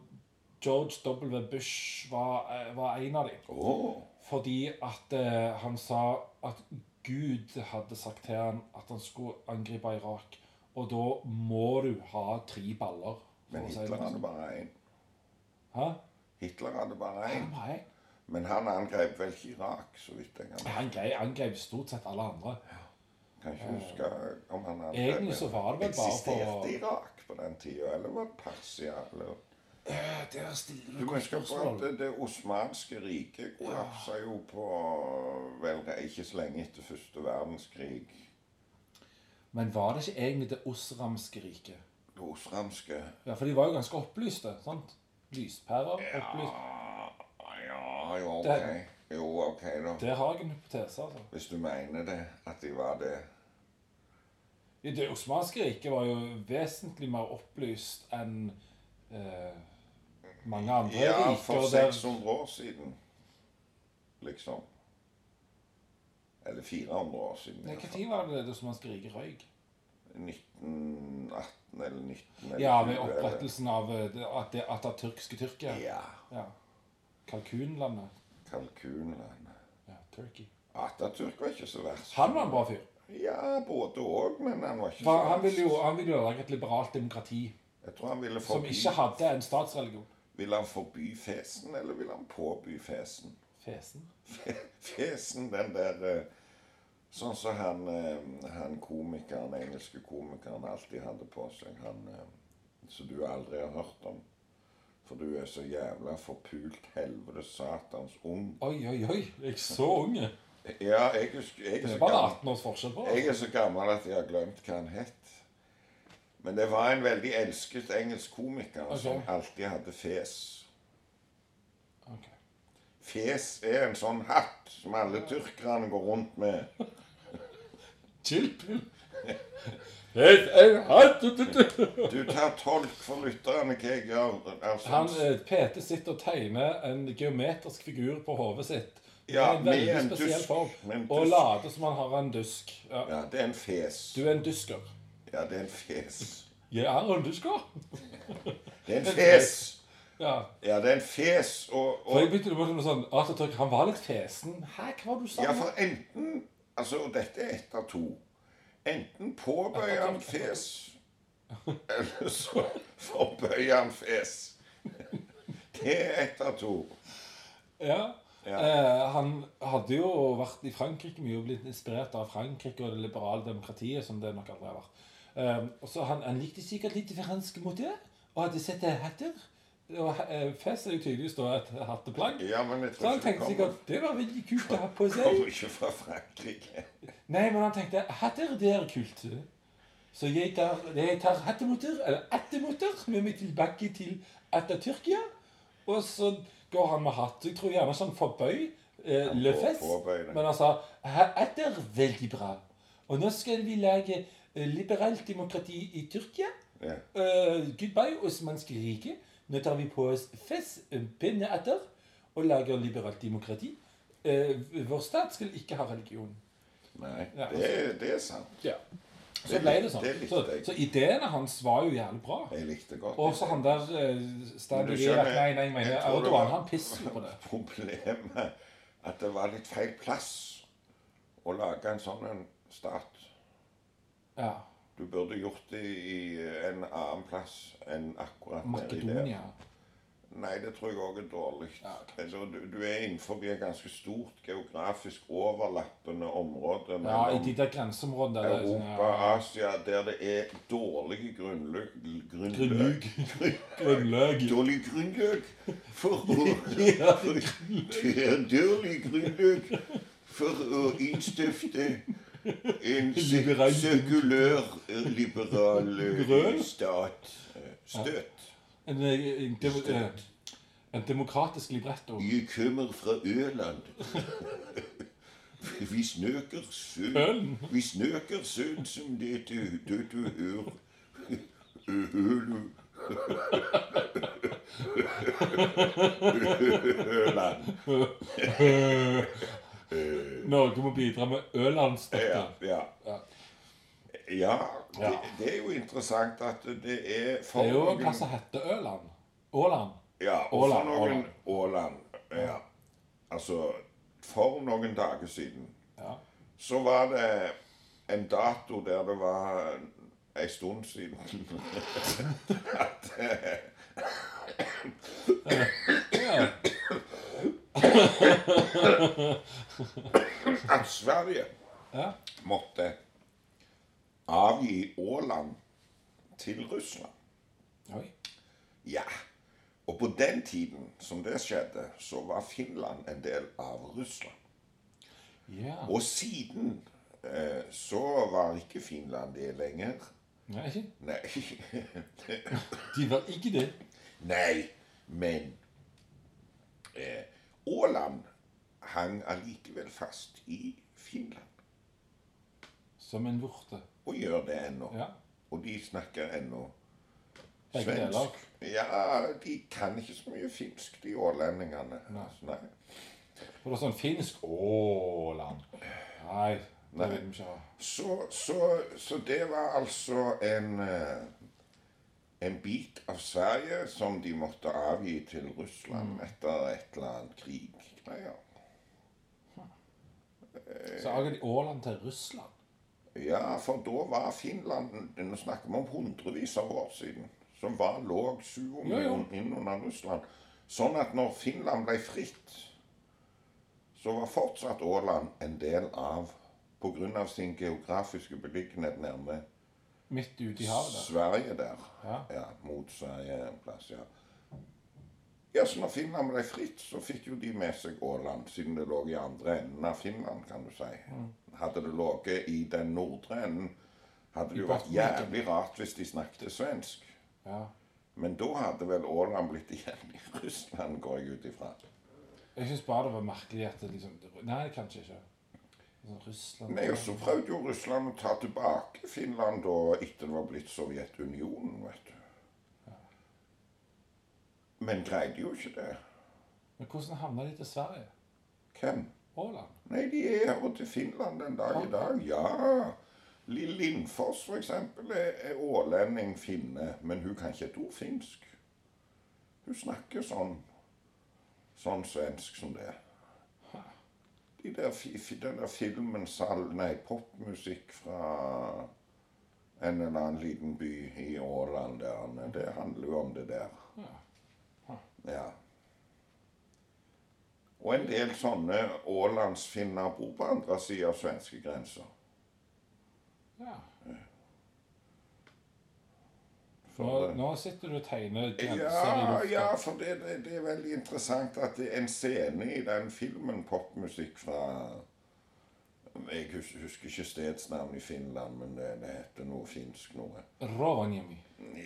George W. Bush var, eh, var en av dem. Åh. Fordi at eh, han sa at Gud hadde sagt til han at han skulle angripe Irak. Og da må du ha tre baller. for Men å si det Hitler hadde sånn. bare én. Hæ? Hitler hadde bare Ja, én. Nei. Men han angrep vel ikke Irak, så vidt jeg kan Han grei- angrep stort sett alle andre. Kan ikke huske om han angrep Egentlig så var det vel bare for- Eksisterte Irak på den tida, eller var det Persia? Eller? Eh, Der stiller Du må godt huske på spørsmål. at det, det osmanske riket kollapsa jo på vel ikke så lenge etter første verdenskrig. Men var det ikke egentlig det osramske riket? Det osramske Ja, for de var jo ganske opplyste, sant? Lyspærer, opplyst. Ja, jo, ok. Jo, ok, da. Der har jeg en hypotese, altså. Hvis du mener det, at de var det. Ja, Det osmanske riket var jo vesentlig mer opplyst enn eh, mange andre Ja, riker. for der- 600 år siden, liksom. Eller 400 år siden. i Nei, hvert hva fall. tid var det det osmanske riket røyk? 1918 eller 19... eller Ja, med 20 eller- opprettelsen av eh, det- at det at det tyrkiske Tyrkia. Ja. Ja. Kalkunlandet. Kalkunlandet. Ja, Turkey. Atatürk var ikke så verst. Han var en bra fyr. Ja, både òg, men han var ikke For så han ville jo verst. han ville jo lage et liberalt demokrati Jeg tror han ville som forby ikke hadde en statsreligion. Ville han forby fesen, eller ville han påby fesen? Fesen. Fe- Fesen, den der eh, Sånn som han, eh, han komikeren, engelske komikeren alltid hadde på seg, han eh, som du aldri har hørt om. For du er så jævla forpult helvetes satans ung. Oi, oi, oi. Jeg er så unge. Ja, jeg, husker, jeg, Det er er så bare gammel, 18 års forskjell på jeg oss. er så gammel at jeg har glemt hva han het. Men det var en veldig elsket engelsk komiker Ok. som alltid hadde fes. Ok. Fes er en sånn hatt som alle tyrkerne går rundt med. Chill pill. Helt en hatt. Du tar tolk for lytterne hva jeg gjør. Altså, Han, eh, Pete sitter og tegner en geometrisk figur på hodet sitt. Ja, Med en med veldig en spesiell dusk, med en form. Og dusk. later som han har en dusk. Ja. ja, det er en fes. Du er en dusker. Ja, det er en fes. Jeg er en dusker. Det er en fes! Ja. Ja, det er en fes, og, For jeg og begynte med noe sånn Atatürk, han var litt fesen. Hæ, hva var det du sa? Ja, for enten Altså, og dette er ett av to. Enten påbøyer han fes, eller så forbøyer han fes. Det er ett av to. ja. Ja. Eh, han hadde jo vært i Frankrike mye og blitt inspirert av Frankrike og det liberale demokratiet, som det nok aldri har vært. Eh, og så han, han likte sikkert litt fransk mote, og hadde sett eh, hatter. Og eh, fes er jo tydeligvis da et hatteplagg. Ja, men jeg Så tror han ikke det tenkte kommer, sikkert det var veldig kult å ha på seg. kommer ikke fra Frankrike. Nei, men han tenkte hatter, det er kult. Så jeg tar, jeg tar hattemotor, eller attemotor, med meg tilbake til Atatürkia. Og så går han med hatt. Jeg tror gjerne sånn forbøy, eh, på- løfes. påbøy det. Men han sa "Ha- atter, veldig bra. Og nå skal vi lage eh, liberalt demokrati i Tyrkia. Ja. Eh, goodbye, osmanske rike. Nå tar vi på oss fes, eh, penne atter, og lager liberalt demokrati. Eh, vår stat skal ikke ha religion. Nei, Ja, det, er- det er sant. Ja. Så Det ble lik- det sånn. det likte så, jeg. så ideene hans var jo jævlig bra. Jeg likte godt. Og så han der eh, Men Stanley du skjønner, Vivek Nei, nei, jeg mener jeg tror det Erdogan. var- Han pisser jo på det. Problemet at det var litt feil plass å lage en sånn en stat. Ja. Du burde gjort det i en annen plass enn akkurat nedi der. Makedonia. Nei, det tror jeg òg er dårlig. Ja, ok. Altså, du, du er innenfor et ganske stort geografisk overlappende område Ja, i mellom de der grenseområdene der. det er sånn, Europa, Asia, der det er dårlige grunnløk Grunnløk? Grunnløk. Grunnløk. Dårlig grunnløk for å Ja. Det er dårlig grunnlag for å innstifte en se- Liberal- sekulær, eh, liberal eh, Grøn? stat. Eh, Støt. En, eh, en, dem- eh, en demokratisk libretto. Jeg kommer fra Øland. Vi snøker sønn Ølen? Vi snøker sønn som det du, det du hører. Ølu. Øland. Norge må bidra med Ja, Ølandsstøtte. ja. Ja. ja det, Ja. det er jo interessant at det er for Det er jo en noen- plass som heter Øland. Åland. Ja, og for Åland, noen Åland. Åland. Ja. Altså, for noen dager siden Ja. så var det en dato der det var ei stund siden at eh, Ja. at Sverige Ja. måtte avgi Åland til Russland. Oi. Ja. Og på den tiden som det skjedde, så var Finland en del av Russland. Ja. Og siden eh, så var ikke Finland det lenger. Nei, ikke. Nei. De var ikke det. Nei, men eh, Åland hang allikevel fast i Finland. Som en vorte. Og gjør det ennå. Ja. Og de snakker ennå Begge deler. svensk. Ja, de kan ikke så mye finsk, de ålendingene. Nei. Nei. For det er sånn finsk Åland. Nei, Det Nei. vil vi ikke ha. Så, så, så det var altså en eh, en bit av Sverige som de måtte avgi til Russland Mm. etter et eller annet kriggreier. Så avga de Åland til Russland. Ja, for da var Finland Nå snakker vi om hundrevis av år siden. Som var lå Jo, suverent inn under Russland. Sånn at når Finland ble fritt, så var fortsatt Åland en del av Pga. sin geografiske beliggenhet nærme Midt ute i havet der. Sverige der. Ja. Ja, mot Sverige en plass, ja. Ja, så når Finland ble fritt, så fikk jo de med seg Åland, siden det lå i andre enden av Finland, kan du si. Mm. Hadde det ligget i den nordre enden, hadde det I jo vært Bottenviken. jævlig rart hvis de snakket svensk. Ja. Men da hadde vel Åland blitt igjen i Russland, går jeg ut ifra. Jeg syns bare det var merkelig at det liksom Nei, kanskje ikke. Sånn Russland Nei, og så prøvde jo Russland å ta tilbake Finland da, etter det var blitt Sovjetunionen, vet du. Men greide jo ikke det. Men hvordan havna de til Sverige? Hvem? Åland? Nei, de er her til Finland den dag i dag. Ja. Lill Lindfors, for eksempel, er, er ålending finne, men hun kan ikke et ord finsk. Hun snakker sånn sånn svensk som det. De der, fi- fi- den der filmen sal, Nei, popmusikk fra en eller annen liten by i Åland der. Anne. Det handler jo om det der. Ja. Og en del sånne ålandsfinner bor på andre sida av svenskegrensa. Ja. Nå, For- nå sitter du og tegner grenser i Ja, lufta. ja, for det, det, det er veldig interessant at det er en scene i den filmen, popmusikk fra Jeg hus- husker ikke stedsnavnet i Finland, men det, det heter noe finsk noe. Rovaniemi.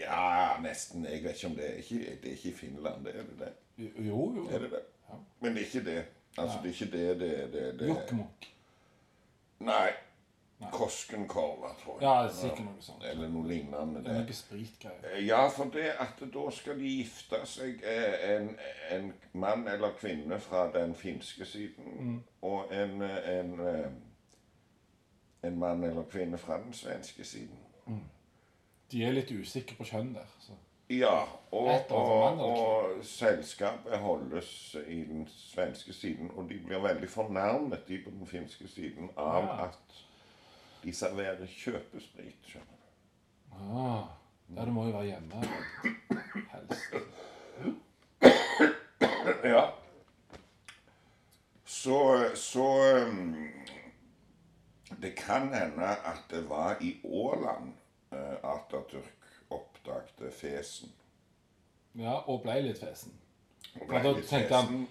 Ja, nesten. Jeg vet ikke om det er ikke, Det er ikke i Finland, det er det det? Jo, jo. Er det det? Men det er ikke det. Altså, det er ikke det det, det, det. Jokkmokk. Nei. Koskenkorva, tror jeg. Ja, sikkert noe sånt. Eller noe lignende. Det er Det. noe spritgreier. Ja, for det at da skal de gifte seg eh, en, en mann eller kvinne fra den finske siden og en, eh, en, eh, en mann eller kvinne fra den svenske siden. De er litt usikre på kjønn der. Så. Ja, og, Rett over og, vannet, og selskapet holdes i den svenske siden, og de blir veldig fornærmet, de på den finske siden, av Ja. at de serverer kjøpesprit. skjønner du. Ah, ja, det må jo være hjemme. Helst. Ja. Så, så um, Det kan hende at det var i Åland eh, Atatürk oppdagte fesen. Ja, og ble litt fesen. Og Ja, ble da litt tenkte han fesen,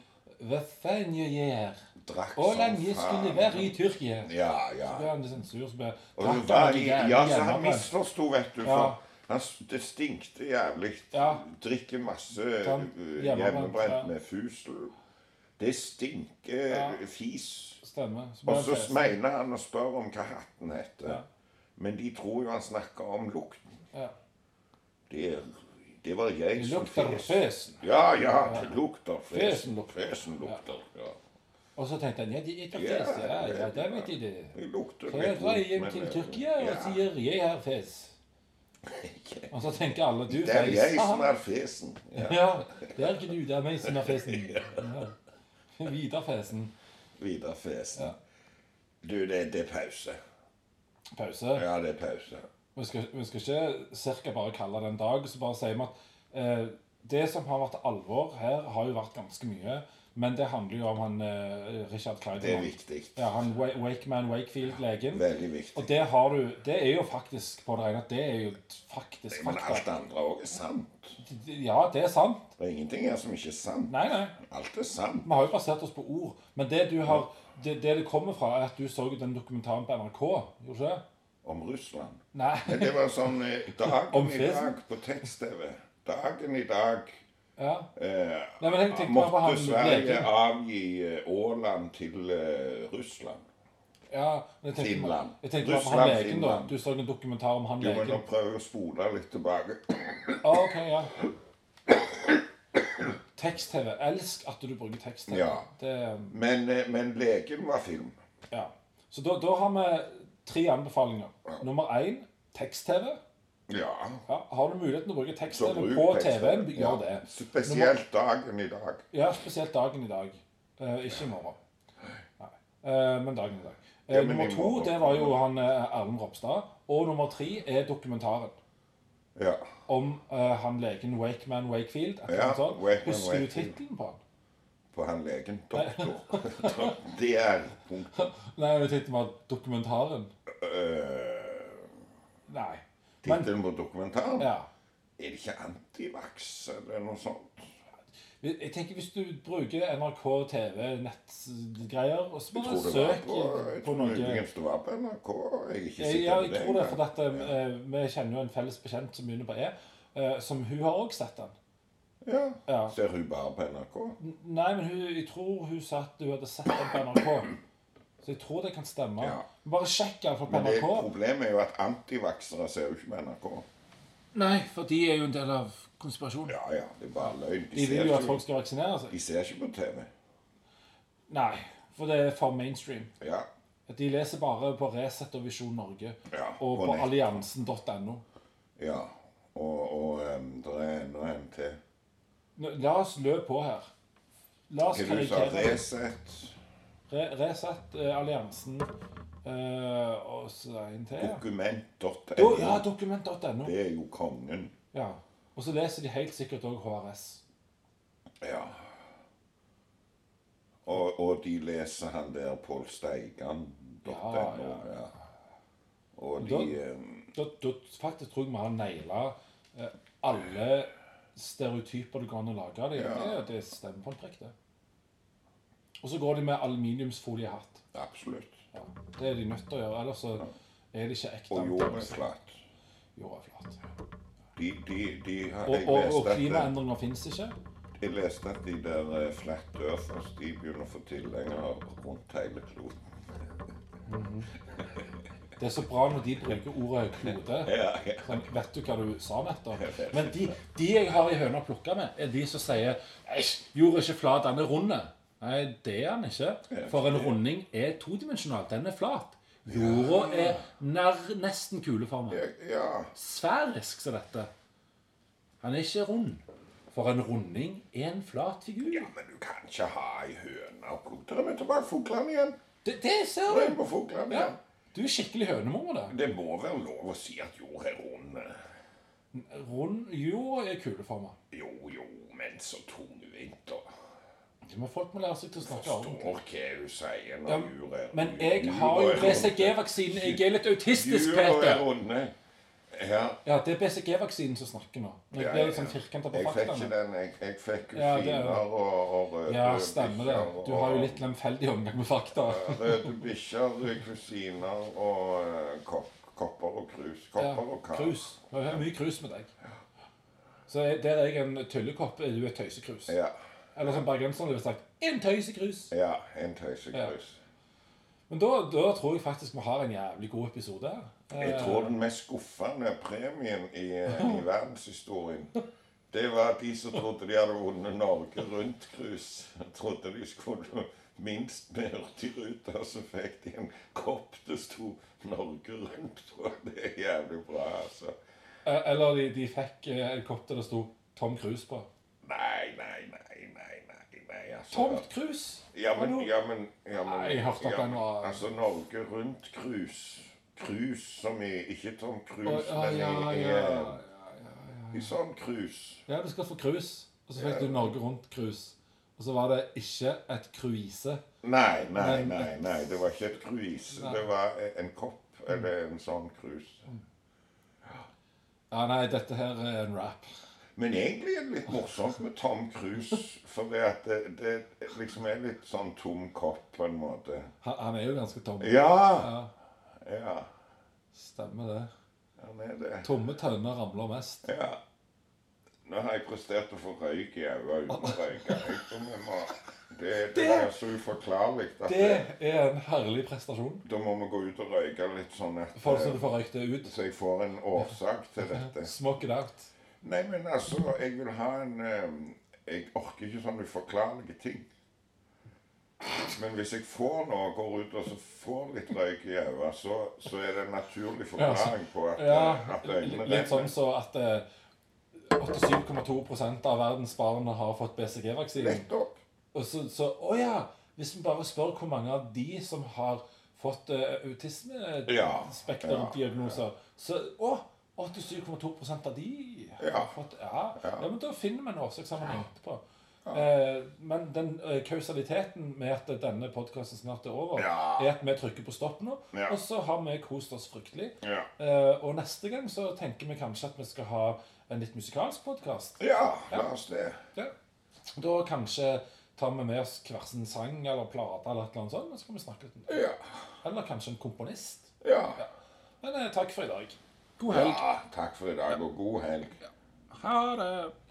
Hva faen jeg gjør? drakk som Åland, jeg skulle faen. være i Tyrkia. Ja, ja. Så ble han liksom sur, så ble Og hun drakk var noe i, jævlig ja, så han hjemme. misforsto, vet du. Ja. For han, s- det stinkte jævlig. Ja. Drikker masse Sant. uh, Hjemmebrent, ja. hjemmebrent med fusel. Det stinker Ja. fis. Stemmer. Så ble Og han så fesen. mener han og spør om hva hatten heter. Ja. Men de tror jo han snakker om lukten. Ja. Det, er- det var jeg Det som lukter fes. fesen. Ja, ja, det lukter Fesen fesen. lukter. Fesen lukter, ja. Og så tenkte han ja, de eter Ja, fes. Ja, ja, ja, det ja. vet de det. Det lukter Så jeg litt drar vondt, hjem men, til eh, Tyrkia og ja. sier 'jeg har fes'. Og så tenker alle 'du Det er jeg som fes'. er fesen. Ja. Ja, det er ikke du, det er meg som er fesen. Ja. Vidar fesen. Vidar Fesen. Du, det, det er pause. Pause. Ja, det er pause. Vi skal, vi skal ikke cirka bare kalle det en dag, så bare sier vi at eh, det som har vært alvor her, har jo vært ganske mye. Men det handler jo om han eh, Richard Kleiderman. Det er viktig. Ja, han Wa- Wakeman Wakefield-legen. Veldig Og viktig. det har du Det er jo faktisk på det rene at det er jo faktisk Men alt fakta. det andre òg er sant. Ja, det er sant. Det er ingenting her som ikke er sant. Nei, nei. Alt er sant. Vi har jo basert oss på ord. Men det du har det, det det kommer fra, er at du så jo den dokumentaren på NRK, gjorde du ikke? det? Om Russland. Nei. Men det var sånn eh, Om Dagen i fesen? dag på tekst-TV. Dagen i dag Ja. eh, Nei, men jeg tenkte bare på måtte han Sverige legen. avgi eh, Åland til eh, Russland. Ja, men jeg tenkte, Finland. Jeg tenkte bare på han Russland, legen, da. Finland. Du så en dokumentar om han Jo, men legen. nå prøver jeg å spole litt tilbake. Ah, ok, ja. Tekst-TV. Elsk at du bruker tekst-TV. Ja. Det, Men, eh, men legen var film. ja. Så da, da har vi tre anbefalinger. Nummer én tekst-TV. Ja. Ja, har du muligheten til å bruke Så tekst-TV bruk på tekst-TV. TV-en, Ja. gjør det. Spesielt dagen i dag. Ja, spesielt dagen i dag. Eh, ikke i morgen. Nei. Eh, men dagen i dag. Eh, Ja, men i nummer to morgen. det var jo han eh, Erlend Ropstad. Og nummer tre er dokumentaren Ja. om eh, han legen Wakeman Wakefield. et eller annet sånt. Wakeman Husker du Wakefield. tittelen på han? På han legen. Doktor. Det er punktet. Nei, men tittelen var dokumentaren. Øh, Nei. Men, Tittelen på dokumentaren. ja. Er det ikke antivaks eller noe sånt? Jeg tenker Hvis du bruker NRK TV-nettgreier og så Jeg bare tror det var søk på, jeg på tror noe muligens det var på NRK. Jeg er ikke Ja, sikker jeg på det. tror det, for engang. at, eh, vi kjenner jo en felles bekjent som begynner på E, eh, som hun har også sett den. ja. Ja. Ser hun bare på NRK? N- Nei, men hun, jeg tror hun sa at hun hadde sett den på NRK. Så jeg tror det kan stemme. Ja. Bare sjekk den på Men det, NRK. problemet er jo at antivaksere ser jo ikke på NRK. Nei, for de er jo en del av konspirasjonen. Ja, ja, det er bare løgn. De ser vil jo ikke- at folk skal vaksinere seg. de ser ikke på TV. Nei, for det er for mainstream. Ja. De leser bare på Resett og Visjon Norge Ja, og på på nett. alliansen.no. ja. Og, og um, det er enda en til. Nå- La oss lø på her. La oss Hva du sa karikere. Resett, Re- Resett, eh, Alliansen eh, og så er det en til. ja. dokument.no. Do- Ja, dokument.no. Det er jo kongen. Ja. Og så leser de helt sikkert òg HRS. Ja. Og, og de leser han der Pål Steigan.no. Ja, ja. ja. Og Da- de um, Da, da faktisk tror jeg vi har naila eh, alle stereotyper det går an å lage. Det, Ja. det, det stemmer på en prikk, det. Og så går de med aluminiumsfoliehatt. Absolutt. Ja. Det er de nødt til å gjøre, ellers så er det ikke ekte. Og jorden er antivax. flat. Jorda er flat. De, de, de har Og, jeg og, lest og at- klimaendringer fins ikke. Jeg leste at de der eh, Flat Earthers de begynner å få tilhengere rundt hele kloden. Det er så bra når de bruker ordet klode. Ja, ja. Sånn, vet du hva du sa nettopp? Jeg vet Men de, de jeg har i høna å plukke med, er de som sier Æsj, jorda er ikke flat, den er rund. Nei, det er den ikke. For en runding er todimensjonal. Den er flat. Jorda er nær, nesten kuleformet. Jeg- ja. Sfærisk som dette. Han er ikke rund. For en runding er en flat figur. ja, men du kan ikke ha ei høne og plukke med tilbake fuglene igjen. Det, det ser du! Regnbuefuglene Ja. igjen. Du er skikkelig hønemor. da. Det må være lov å si at jord er rund. Rund jorda er kuleformet. Jo, jo, men så tung vinter. Det må folk må lære seg til å snakke om. Forstår hva du sier Ja, når jord er rund. Men jeg har jo Jord er runde. BCG-vaksinen. Jeg er litt autistisk, Jord er Peter. runde. Ja. Ja, det er BCG-vaksinen som snakker nå. Jeg Ja, ble ja, litt sånn ja. firkanta på Jeg fikk ikke faktaene. den. Jeg, jeg fikk Ja, det er kusiner det. og, og røde Ja, stemmer det. bikkjer Du har og- jo litt lemfeldig omgang med fakta. Røde bikkjer, røde kusiner og eh, kopp, kopper og krus. Ja, Kopper og kar. krus. Det er mye krus med deg. Så jeg- der er jeg en tullekopp, er du et tøysekrus. Ja, Eller som bergenserne ville sagt en tøysekrus. ja, en tøysekrus. Men da, da tror jeg faktisk vi har en jævlig god episode her. Eh, Jeg tror den mest skuffende premien i, eh, i verdenshistorien det var de som trodde de hadde vunnet Norge Rundt-krus. Trodde de skulle minst med Hurtigruta, så fikk de en kopp det sto Norge Rundt på. Det er jævlig bra, altså. Eh, Eller de, de fikk eh, en kopp der det sto Tom Cruise på. Nei, nei, nei, nei, nei. nei altså. Tomt krus! Ja, men, Hallo? ja, men, ja, men Nei, jeg hørte at ja, den var- men, Altså, Norge rundt cruise. Cruise som i Ikke Tom Å, Cruise, Ja, men ja, i, i, ja, eh, ja. i sånn cruise. Ja, du skal få cruise. Og så fikk du Norge Rundt-cruise. Og så var det ikke et cruise. Nei, nei, Men- nei, nei. Det var ikke et cruise. Nei. Det var en kopp, eller en sånn cruise. Ja, nei, dette her er en rap. Men egentlig er det litt morsomt med Tom Cruise, for det at det, det liksom er litt sånn tom kopp, på en måte. Han, han er jo ganske tom. Ja! Ja, Ja, stemmer det. han er det. Tomme tønner ramler mest. Ja. Nå har jeg prestert å få røyk i øynene uten å røyke. Jeg tror vi må Det, det Det- er så uforklarlig at Det det, er en herlig prestasjon. da må vi gå ut og røyke litt sånn at Folk som du får røykt det ut. Så jeg får en årsak til dette. Smoke it out. Nei, men altså, ehm, jeg vil ha en eh, Jeg orker ikke sånne uforklarlige ting. sånn Men hvis jeg får noe, går ut og så får litt røyk i øyet, så, så er det en naturlig Ja, så- forklaring på at, eh, Ja, at øynene litt sånn renner. så at eh, 87,2 av verdens barn har fått BCG-vaksinen. Nettopp. Og så, så Å ja! Hvis vi bare spør hvor mange av de som har fått uh, Ja, autismespekterdiagnoser, så Å! 87,2 av de har Ja. fått ja. ja. Ja. Men da finner vi en årsakssammenheng etterpå. Eh, men den eh, kausaliteten med at denne podkasten snart er over, Ja. er at vi trykker på stopp nå, Ja. og så har vi kost oss fryktelig. Ja. Eh, og neste gang så tenker vi kanskje at vi skal ha en litt musikalsk podkast. ja, la oss det. Ja. Da kanskje tar vi med oss hver sin sang eller plate eller et eller annet sånt, og så kan vi snakke litt om det. Ja. Eller kanskje en komponist. ja. Men eh, takk for i dag. God helg. ja takk for i dag, og god helg. Ha det.